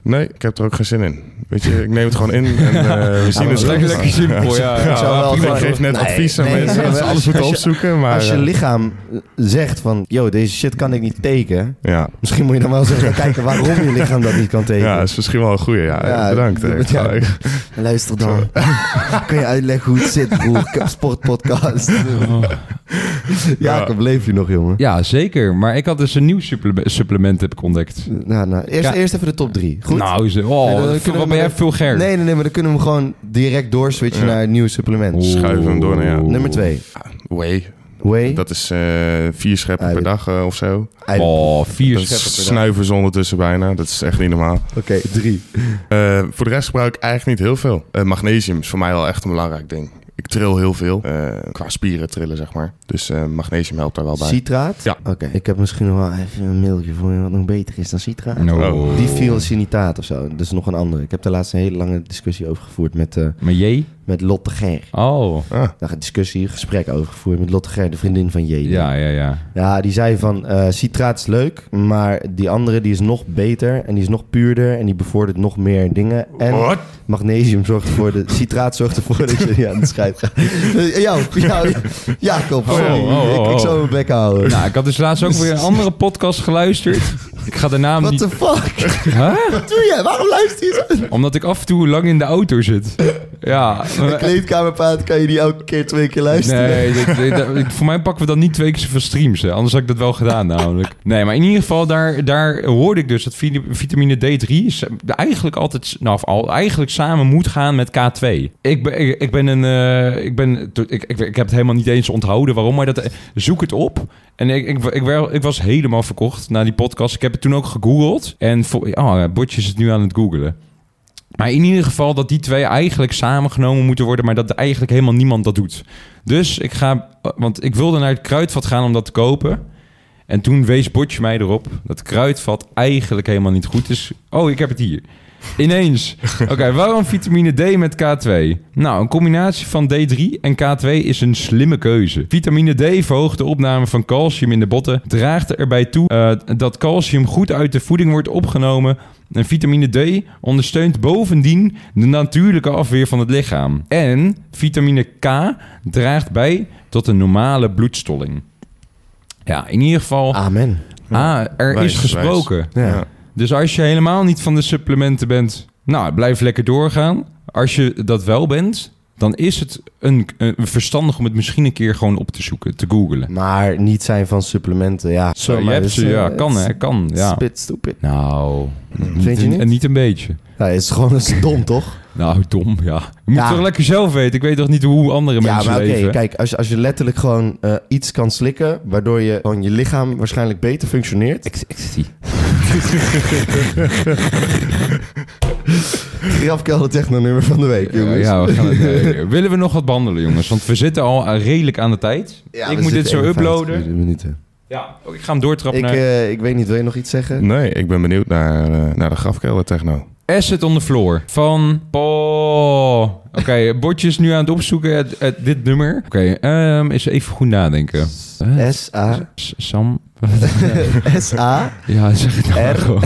Speaker 4: Nee, ik heb er ook geen zin in. Weet je, ik neem het gewoon in en eh we
Speaker 1: maar
Speaker 4: zien het
Speaker 1: dat
Speaker 4: wel.
Speaker 1: is
Speaker 3: Lekker, lekker simpel, ja.
Speaker 4: (laughs)
Speaker 1: Ik zou
Speaker 3: ja,
Speaker 1: wel
Speaker 4: Prima,
Speaker 1: gewoon-
Speaker 4: ik geef net
Speaker 1: Nee,
Speaker 4: advies aan
Speaker 1: nee,
Speaker 4: mensen
Speaker 1: nee,
Speaker 4: dat ze
Speaker 1: maar
Speaker 4: alles
Speaker 1: als je-
Speaker 4: moeten opzoeken. Maar,
Speaker 1: Als je
Speaker 4: eh,
Speaker 1: lichaam eh, zegt van, yo, deze shit kan ik niet tekenen.
Speaker 4: ja.
Speaker 1: Misschien moet je dan wel eens even gaan kijken waarom je lichaam dat niet kan tekenen.
Speaker 4: ja, is misschien wel een goeie. Ja,
Speaker 1: Ja,
Speaker 4: bedankt. eh, hè.
Speaker 1: dat- ja.
Speaker 4: Ja,
Speaker 1: Luister dan. (laughs) kan je uitleggen hoe het zit, broer? Ik heb een sportpodcast.
Speaker 4: Oh.
Speaker 1: Jacob, leef je nog, jongen?
Speaker 3: Ja, zeker. Maar ik had dus een nieuw supple- supplement heb ik ontdekt.
Speaker 1: Nou, nou, eerst,
Speaker 3: Ja.
Speaker 1: eerst even de top drie. Goed?
Speaker 3: Nou, ze- oh,
Speaker 1: Nee, dan
Speaker 3: wat
Speaker 1: kunnen we
Speaker 3: wat ben
Speaker 1: met-
Speaker 3: jij vulgair.
Speaker 1: Nee, nee, nee, maar dan kunnen we hem gewoon direct doorswitchen naar het nieuwe supplement.
Speaker 3: Oeh.
Speaker 4: Schuiven hem door nou naar jou.
Speaker 1: Nummer twee.
Speaker 4: Whey.
Speaker 1: Whey.
Speaker 4: Dat is eh, vier scheppen
Speaker 1: Eiwit.
Speaker 4: per dag eh, of zo.
Speaker 1: Eiwit.
Speaker 3: Oh, Ah, vier
Speaker 4: Dat
Speaker 3: scheppen per
Speaker 4: is
Speaker 3: dag.
Speaker 4: snuivers ondertussen bijna. Dat is echt niet normaal.
Speaker 1: Oké, drie.
Speaker 4: Eh, voor de rest gebruik ik eigenlijk niet heel veel. Eh, magnesium is voor mij wel echt een belangrijk ding. Ik tril heel veel. eh, qua spieren trillen, zeg maar. Dus eh, magnesium helpt daar wel bij.
Speaker 1: Citraat?
Speaker 4: Ja.
Speaker 1: Oké, ik heb misschien nog wel even een mailtje voor je wat nog beter is dan citraat.
Speaker 3: No.
Speaker 1: Die filocinitaat of zo, dat is nog een andere. Ik heb daar laatst een hele lange discussie over gevoerd met, eh,
Speaker 3: Maar J?
Speaker 1: met Lotte Ger.
Speaker 3: Oh.
Speaker 4: Ah,
Speaker 1: Daar een discussie, gesprek over gevoerd met Lotte Ger, de vriendin van J.
Speaker 3: Ja, ja, ja.
Speaker 1: Ja, die zei van eh, citraat is leuk, maar die andere die is nog beter en die is nog puurder en die bevordert nog meer dingen. En
Speaker 4: What?
Speaker 1: magnesium zorgt ervoor,
Speaker 3: (laughs)
Speaker 1: de citraat zorgt ervoor dat je ja, aan de scheid gaat. Eh, jou, jou, Jacob,
Speaker 3: Oh,
Speaker 1: sorry.
Speaker 3: oh, oh,
Speaker 1: Ik, ik zou mijn bek houden.
Speaker 3: Nou, ik had dus laatst ook weer een andere podcast geluisterd. Ik ga de naam
Speaker 1: What
Speaker 3: niet...
Speaker 1: the
Speaker 3: (laughs)
Speaker 1: fuck?
Speaker 3: Huh?
Speaker 1: Wat doe jij? Waarom luister je zo?
Speaker 3: Omdat ik af en toe lang in de auto zit. Ja.
Speaker 1: Een kleedkamerpraat kan je die elke keer twee keer luisteren.
Speaker 3: Nee, dit- dit- dat- ik- voor mij pakken we dan niet twee keer zoveel streams. Hè. Anders had ik dat wel gedaan namelijk. Nee, maar in ieder geval, daar, daar hoorde ik dus dat vi- vitamine D3 is eigenlijk altijd, nou, of al, eigenlijk samen moet gaan met K2. Ik ben, ik, ik ben een, eh, ik ben, ik, ik, ik heb het helemaal niet eens onthouden waarom, maar dat, eh, zoek het op. En ik, ik, ik, wel- ik was helemaal verkocht na die podcast. Ik heb het toen ook gegoogeld. En, vo- oh, ja, Botje is het nu aan het googelen. Maar in ieder geval dat die twee eigenlijk samengenomen moeten worden, maar dat eigenlijk helemaal niemand dat doet. Dus ik ga, want ik wilde naar het kruidvat gaan om dat te kopen. En toen wees Botje mij erop dat kruidvat eigenlijk helemaal niet goed is. Oh, ik heb het hier.
Speaker 4: (laughs)
Speaker 3: Ineens. Oké, waarom vitamine D met K2? Nou, een combinatie van D3 en K2 is een slimme keuze. Vitamine D verhoogt de opname van calcium in de botten, draagt erbij toe eh, dat calcium goed uit de voeding wordt opgenomen. En vitamine D ondersteunt bovendien de natuurlijke afweer van het lichaam. En vitamine K draagt bij tot een normale bloedstolling. Ja, in ieder geval.
Speaker 1: Amen.
Speaker 3: Ah, er
Speaker 4: wijs,
Speaker 3: is gesproken.
Speaker 1: Ja.
Speaker 4: Ja.
Speaker 3: Dus als je helemaal niet van de supplementen bent, nou, blijf lekker doorgaan. Als je dat wel bent, dan is het een, een- verstandig om het misschien een keer gewoon op te zoeken, te googlen.
Speaker 1: Maar niet zijn van supplementen, ja.
Speaker 3: Zo, je
Speaker 1: maar
Speaker 3: hebt
Speaker 1: dat is,
Speaker 3: ze,
Speaker 1: eh,
Speaker 3: ja,
Speaker 1: het
Speaker 3: kan
Speaker 1: is-
Speaker 3: hè, kan, ja.
Speaker 1: Spit, stupid.
Speaker 3: Nou,
Speaker 1: Vind je
Speaker 3: een-
Speaker 1: niet?
Speaker 3: en niet een beetje.
Speaker 1: Ja, het is gewoon het is dom, toch?
Speaker 3: Nou, dom, ja. Je moet
Speaker 1: Ja.
Speaker 3: toch lekker zelf weten. Ik weet toch niet hoe andere
Speaker 1: Ja,
Speaker 3: mensen
Speaker 1: maar oké,
Speaker 3: leven.
Speaker 1: kijk, als je, als je letterlijk gewoon eh, iets kan slikken, waardoor je gewoon je lichaam waarschijnlijk beter functioneert.
Speaker 3: Ik, ik
Speaker 1: (laughs)
Speaker 3: zie.
Speaker 1: Grafkelder technonummer van de week, jongens.
Speaker 3: Ja, we gaan
Speaker 1: (laughs)
Speaker 3: het, eh, willen we nog wat behandelen, jongens? Want we zitten al eh, redelijk aan de tijd.
Speaker 1: Ja,
Speaker 3: ik
Speaker 1: we
Speaker 3: moet dit
Speaker 1: zitten
Speaker 3: zo
Speaker 1: 51
Speaker 3: uploaden.
Speaker 1: Minuten.
Speaker 3: Ja, Oh, ik ga hem doortrappen
Speaker 1: Ik,
Speaker 3: naar...
Speaker 1: eh, ik weet niet, wil je nog iets zeggen?
Speaker 4: Nee, ik ben benieuwd naar, eh, naar de grafkelder techno.
Speaker 3: Asset on the Floor van Paul. Oké, Botje is nu aan het opzoeken het, het- dit nummer. Oké, ehm, eens even goed nadenken. Eh,
Speaker 1: S-A.
Speaker 3: S- Sam?
Speaker 1: S-A.
Speaker 3: Ja, zeg het nou
Speaker 1: R.
Speaker 3: gewoon.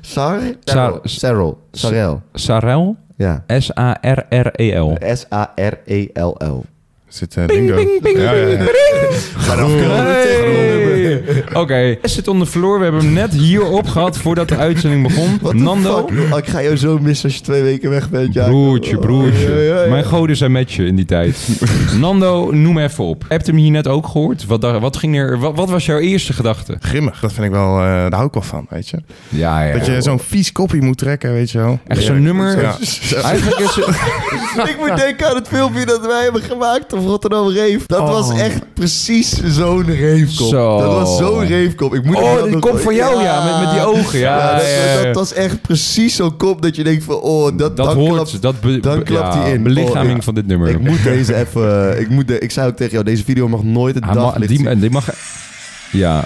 Speaker 1: Sar?
Speaker 3: Sar-
Speaker 1: Sarel. Sarel.
Speaker 3: Sarel?
Speaker 1: Ja.
Speaker 3: S-A-R-R-E-L.
Speaker 1: S-A-R-E-L-L.
Speaker 4: Zit eh, bingo. Ja, ja, ja.
Speaker 1: Grafkelder
Speaker 3: Hey!
Speaker 1: technonummer.
Speaker 3: Oké, zit onder verloor. We hebben hem net hierop gehad voordat de uitzending begon.
Speaker 1: What the
Speaker 3: Nando.
Speaker 1: fuck? Oh, Ik ga jou zo missen als je twee weken weg bent. Ja.
Speaker 3: Broertje, broertje.
Speaker 1: Oh, ja, ja, ja.
Speaker 3: Mijn goden zijn met je in die
Speaker 1: (laughs)
Speaker 3: tijd. Nando, noem even op. Heb je hem hier net ook gehoord? Wat, dacht- wat, ging er, wat, wat was jouw eerste gedachte?
Speaker 4: Grimmig, dat vind ik wel, eh, daar hou ik wel van, weet je.
Speaker 3: Ja, ja.
Speaker 4: Dat je zo'n vies kopje moet trekken, weet je wel.
Speaker 3: Echt zo'n nummer.
Speaker 4: Ja.
Speaker 3: Eigenlijk is het...
Speaker 1: Ik moet denken aan het filmpje dat wij hebben gemaakt op Rotterdam Reef. Dat was echt precies zo'n reefkop.
Speaker 3: Oh. Zo.
Speaker 1: Dat was zo'n reefkop. Ik moet hem
Speaker 3: Oh,
Speaker 1: wel
Speaker 3: die
Speaker 1: nog-
Speaker 3: kop van jou, ja. Met, met die ogen,
Speaker 1: Ja,
Speaker 3: ja.
Speaker 1: dat,
Speaker 3: ja, ja.
Speaker 1: dat was echt precies zo'n kop dat je denkt van... Oh, dat,
Speaker 3: Dat
Speaker 1: dan
Speaker 3: hoort,
Speaker 1: klapt-
Speaker 3: dat be-
Speaker 1: dan
Speaker 3: be-
Speaker 1: klapt
Speaker 3: ja,
Speaker 1: hij in.
Speaker 3: Belichaming
Speaker 1: Oh, ik-
Speaker 3: van dit nummer.
Speaker 1: Ik moet deze even... eh, Ik, moet de, ik zei ook tegen jou, deze video mag nooit het
Speaker 3: Hij ma-
Speaker 1: daglicht zien.
Speaker 3: die, die mag. Ja.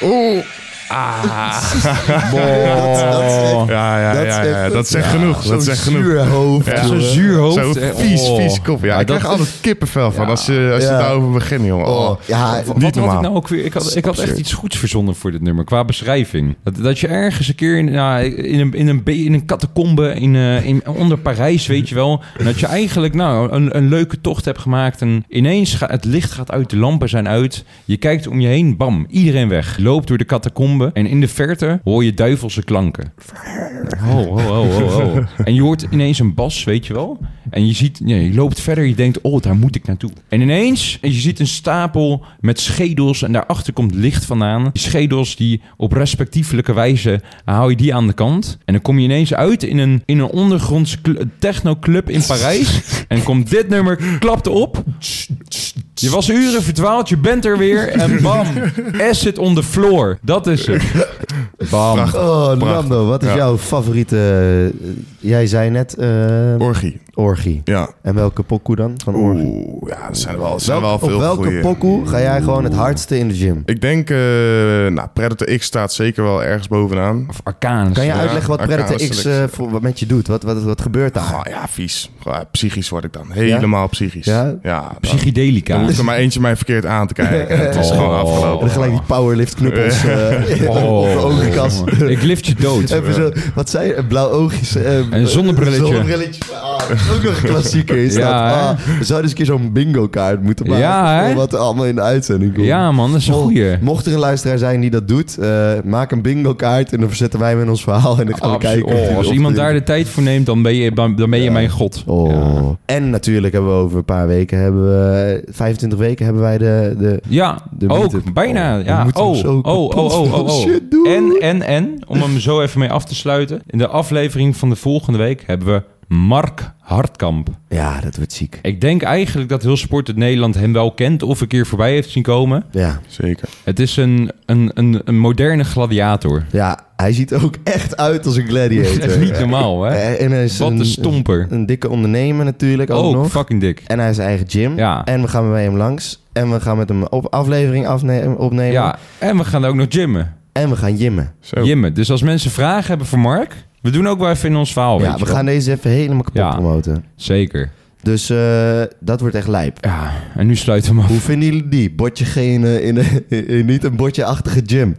Speaker 3: Ah.
Speaker 4: Oeh.
Speaker 1: (laughs) dat is echt-
Speaker 4: Ja, ja,
Speaker 1: Dat is
Speaker 4: ja,
Speaker 1: echt-
Speaker 4: ja, dat zegt
Speaker 1: ja,
Speaker 4: genoeg. Dat
Speaker 1: Zo'n
Speaker 4: zegt genoeg.
Speaker 1: zuur hoofd.
Speaker 4: Ja.
Speaker 3: Zo'n
Speaker 1: jongen.
Speaker 3: zuur hoofd.
Speaker 4: Zo'n
Speaker 3: eh,
Speaker 4: vies,
Speaker 3: oh.
Speaker 4: vies kop. Ja,
Speaker 3: Ja,
Speaker 4: ik
Speaker 3: dat
Speaker 4: krijg altijd kippenvel van als je, als je
Speaker 1: Ja.
Speaker 4: daarover begint, jongen. Oh.
Speaker 1: Oh, ja,
Speaker 3: Wat
Speaker 4: Niet
Speaker 3: had ik
Speaker 4: normaal.
Speaker 3: nou ook weer? Ik had, ik had echt
Speaker 1: absurd.
Speaker 3: iets goeds verzonnen voor dit nummer qua beschrijving. Dat, dat je ergens een keer in, nou, in een in een, be- in een catacombe in, eh, in, onder Parijs, weet je wel, dat je eigenlijk nou een, een leuke tocht hebt gemaakt en ineens gaat het licht gaat uit, de lampen zijn uit, je kijkt om je heen, bam, iedereen weg, Je loopt door de catacombe en in de verte hoor je duivelse klanken. Ho, ho, ho, ho, ho. En je hoort ineens een bas, weet je wel. En je ziet, nee, je loopt verder, je denkt, oh, daar moet ik naartoe. En ineens, en je ziet een stapel met schedels en daarachter komt licht vandaan. Die schedels die op respectievelijke wijze, dan hou je die aan de kant. En dan kom je ineens uit in een, in een ondergrondse cl- technoclub in Parijs. En komt dit nummer, klapt op. Je was uren verdwaald, je bent er weer. En bam, acid on the floor. Dat is het. Bam.
Speaker 1: Oh, Nando, wat is
Speaker 4: Ja.
Speaker 1: jouw favoriete... eh, Jij zei net eh,
Speaker 4: Orgie.
Speaker 1: orgie.
Speaker 4: Ja.
Speaker 1: En welke pokoe dan van orgie?
Speaker 4: Oeh, ja, er zijn wel, er zijn wel
Speaker 1: Welk-
Speaker 4: veel
Speaker 1: op welke
Speaker 4: goeie.
Speaker 1: pokoe ga jij gewoon het hardste in de gym?
Speaker 4: Ik denk, eh, nou, Predator X staat zeker wel ergens bovenaan.
Speaker 3: Of arcaans.
Speaker 1: Kan je
Speaker 4: Ja,
Speaker 1: uitleggen wat
Speaker 4: oké,
Speaker 1: Predator X
Speaker 4: selectie.
Speaker 1: eh, voor, wat met je doet? Wat, wat, wat gebeurt daar?
Speaker 4: Oh, ja, vies. Goh, ja, psychisch word ik dan. Helemaal psychisch.
Speaker 1: Ah, Ja?
Speaker 4: ja dan,
Speaker 3: Psychedelica.
Speaker 4: dan hoeft er maar eentje mij verkeerd aan
Speaker 1: (laughs)
Speaker 4: te kijken. Het is gewoon
Speaker 3: Oh.
Speaker 1: En dan
Speaker 4: afgelopen.
Speaker 1: gelijk die powerlift
Speaker 4: oh.
Speaker 1: knuppels eh op (laughs) de overkast.
Speaker 3: Oh, Ik lift je dood.
Speaker 1: Even zo, wat zei je? Een Blauw oogjes. eh,
Speaker 3: Een zonnebrilletje.
Speaker 1: zonnebrilletje. Ah, dat is ook nog een klassieker is dat.
Speaker 3: (laughs) Ja, hè?
Speaker 1: Ah, we zouden eens een keer zo'n bingo kaart moeten maken.
Speaker 3: Ja, hè?
Speaker 1: voor Wat er allemaal in de uitzending komt.
Speaker 3: Ja, man, dat is een goeie.
Speaker 1: Mocht er een luisteraar zijn die dat doet, eh, maak een bingo kaart en dan verzetten wij hem in ons verhaal en dan gaan we kijken.
Speaker 3: Absoluut.
Speaker 1: of
Speaker 3: Oh,
Speaker 1: die-
Speaker 3: als
Speaker 1: of
Speaker 3: iemand
Speaker 1: die-
Speaker 3: daar de tijd voor neemt, dan ben je, dan dan ben je mijn god.
Speaker 1: Oh. En natuurlijk hebben we over een paar weken, hebben we, 25 weken hebben wij de, de
Speaker 3: Ja,
Speaker 1: De meetup.
Speaker 3: ook. Bijna.
Speaker 1: Oh, we
Speaker 3: ja.
Speaker 1: moeten
Speaker 3: Oh,
Speaker 1: hem zo
Speaker 3: oh, oh,
Speaker 1: kapot
Speaker 3: oh,
Speaker 1: van
Speaker 3: oh, oh.
Speaker 1: shit doen.
Speaker 3: En, en, en, om hem zo even mee af te sluiten. In de aflevering van de volgende week hebben we Mark Hartkamp.
Speaker 1: Ja, dat wordt ziek.
Speaker 3: Ik denk eigenlijk dat heel Sport het Nederland hem wel kent of een keer voorbij heeft zien komen.
Speaker 1: Ja.
Speaker 4: Zeker.
Speaker 3: Het is een, een, een, een moderne gladiator.
Speaker 1: ja, hij ziet er ook echt uit als een
Speaker 3: Dat is
Speaker 1: gladiator.
Speaker 3: niet normaal, hè?
Speaker 1: Eh, En hij is
Speaker 3: Wat
Speaker 1: een,
Speaker 3: een stomper.
Speaker 1: Een, dikke ondernemer natuurlijk ook
Speaker 3: Ook
Speaker 1: nog.
Speaker 3: fucking dik.
Speaker 1: En hij heeft zijn eigen gym.
Speaker 3: Ja.
Speaker 1: En we gaan bij hem langs. En we gaan met hem op aflevering afne- opnemen.
Speaker 3: Ja, en we gaan ook nog gymmen.
Speaker 1: En we gaan jimmen.
Speaker 4: Zo.
Speaker 3: Jimmen. Dus als mensen vragen hebben voor Mark, we doen ook wel even in ons
Speaker 1: ja,
Speaker 3: verhaal. weet je
Speaker 1: we
Speaker 3: wel.
Speaker 1: gaan deze even helemaal kapot
Speaker 3: Ja.
Speaker 1: promoten.
Speaker 3: Zeker.
Speaker 1: Dus eh, dat wordt echt lijp.
Speaker 3: Ja, en nu sluiten we hem af.
Speaker 1: Hoe vinden jullie die? Bordje geen, eh, in, een- (laughs) in niet een bordje-achtige gym.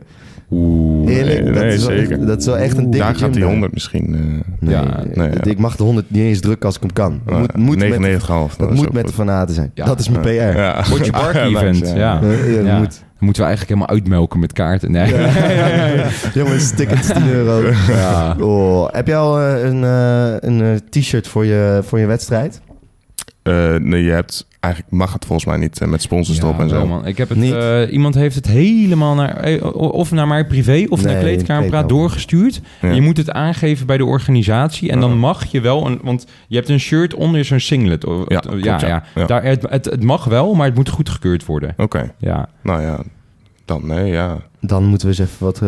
Speaker 3: Oeh.
Speaker 1: Eerlijk,
Speaker 4: nee,
Speaker 1: dat,
Speaker 4: nee,
Speaker 1: is Wel,
Speaker 4: zeker.
Speaker 1: dat is wel echt een dikke
Speaker 4: Daar
Speaker 1: gym.
Speaker 4: gaat die 100 misschien. eh
Speaker 1: Nee,
Speaker 3: Ja,
Speaker 4: nee, ja.
Speaker 1: Ik mag de 100 niet eens drukken als ik hem kan. Het moet,
Speaker 4: eh,
Speaker 1: moet met,
Speaker 4: 99,5.
Speaker 1: het
Speaker 4: is
Speaker 1: moet
Speaker 4: ook
Speaker 1: met de
Speaker 4: goed.
Speaker 1: fanaten zijn.
Speaker 3: Ja.
Speaker 1: Dat is mijn PR. Ja.
Speaker 4: (laughs) Ja.
Speaker 3: Potje Bark
Speaker 4: Ja, nice,
Speaker 3: event,
Speaker 4: ja.
Speaker 3: ja.
Speaker 1: dat
Speaker 3: Ja.
Speaker 1: moet.
Speaker 3: Dan moeten we eigenlijk helemaal uitmelken met kaarten. Nee. (laughs)
Speaker 1: Jongens, tickets 10 euro.
Speaker 3: Ja.
Speaker 1: Oh, heb jij al eh, een, eh, een eh, t-shirt voor je, voor je wedstrijd?
Speaker 4: Eh, nee, je hebt... Eigenlijk mag het volgens mij niet eh, met sponsors
Speaker 3: Ja,
Speaker 4: erop en
Speaker 3: wel,
Speaker 4: zo.
Speaker 3: man. Ik heb het,
Speaker 1: Niet?
Speaker 3: eh, iemand heeft het helemaal naar, eh, of naar mij privé of
Speaker 1: Nee,
Speaker 3: naar kleedkamerpraat
Speaker 1: kleedkamer.
Speaker 3: doorgestuurd.
Speaker 4: Ja.
Speaker 3: Je moet het aangeven bij de organisatie. En dan
Speaker 4: Oh.
Speaker 3: mag je wel, een, want je hebt een shirt onder zo'n singlet. Oh, eh,
Speaker 4: Ja, klopt,
Speaker 3: ja,
Speaker 4: ja.
Speaker 3: ja.
Speaker 4: Ja.
Speaker 3: Daar, het, het, het mag wel, maar het moet goedgekeurd worden.
Speaker 4: Oké,
Speaker 3: Ja,
Speaker 4: nou ja. Dan nee, ja.
Speaker 1: Dan moeten we eens even wat...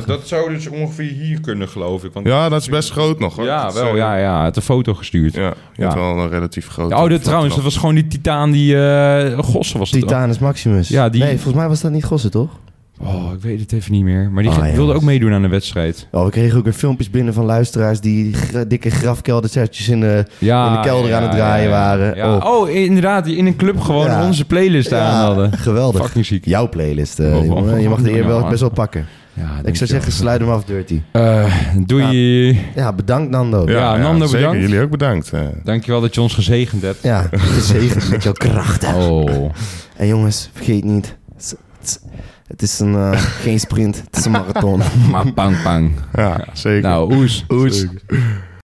Speaker 1: eh,
Speaker 3: zou dus ongeveer hier kunnen, geloof ik. Want
Speaker 4: Ja, dat is best groot nog hoor.
Speaker 3: Ja,
Speaker 4: Dat is,
Speaker 3: wel,
Speaker 4: eh,
Speaker 3: ja, ja. Hij had een foto gestuurd.
Speaker 4: Ja, je hebt wel een relatief groot.
Speaker 3: oh, dat trouwens, dat was gewoon die titaan die... eh Gossen was het
Speaker 1: Titanus Maximus.
Speaker 3: Ja, die-
Speaker 1: Nee, volgens mij was dat niet Gossen, toch?
Speaker 3: Oh, ik weet het even niet meer. Maar die
Speaker 1: Ah,
Speaker 3: ge-
Speaker 1: ja.
Speaker 3: wilde ook meedoen aan de wedstrijd.
Speaker 1: Oh, we kregen ook weer filmpjes binnen van luisteraars die gra- dikke grafkeldersetjes in eh, de...
Speaker 3: Ja,
Speaker 1: In de kelder aan het draaien waren.
Speaker 3: Ja.
Speaker 1: Oh.
Speaker 3: Oh. inderdaad. Die in een club gewoon
Speaker 1: Ja.
Speaker 3: onze playlist aan hadden.
Speaker 1: (laughs) Geweldig.
Speaker 3: Fucking ziek.
Speaker 1: Jouw playlist, eh,
Speaker 3: Oh,
Speaker 1: jongen.
Speaker 3: oh,
Speaker 1: Je mag de eer
Speaker 3: oh,
Speaker 1: wel
Speaker 3: oh,
Speaker 1: best wel
Speaker 3: oh.
Speaker 1: pakken.
Speaker 3: Ja,
Speaker 1: Ik zou
Speaker 3: dankjewel.
Speaker 1: zeggen, sluit hem af, Dirty.
Speaker 3: Eh, doei.
Speaker 1: Ja, bedankt Nando.
Speaker 3: Ja. Nando,
Speaker 4: zeker.
Speaker 3: bedankt.
Speaker 4: Jullie ook bedankt. eh.
Speaker 3: Dankjewel dat je ons gezegend hebt.
Speaker 1: (laughs) Ja, gezegend met jouw krachten.
Speaker 3: Oh.
Speaker 1: En jongens, vergeet niet, s- Het is een, eh, (laughs) geen sprint, het is een marathon.
Speaker 3: Maar pang, pang.
Speaker 4: Ja, zeker.
Speaker 3: Nou, oes.
Speaker 4: Oes.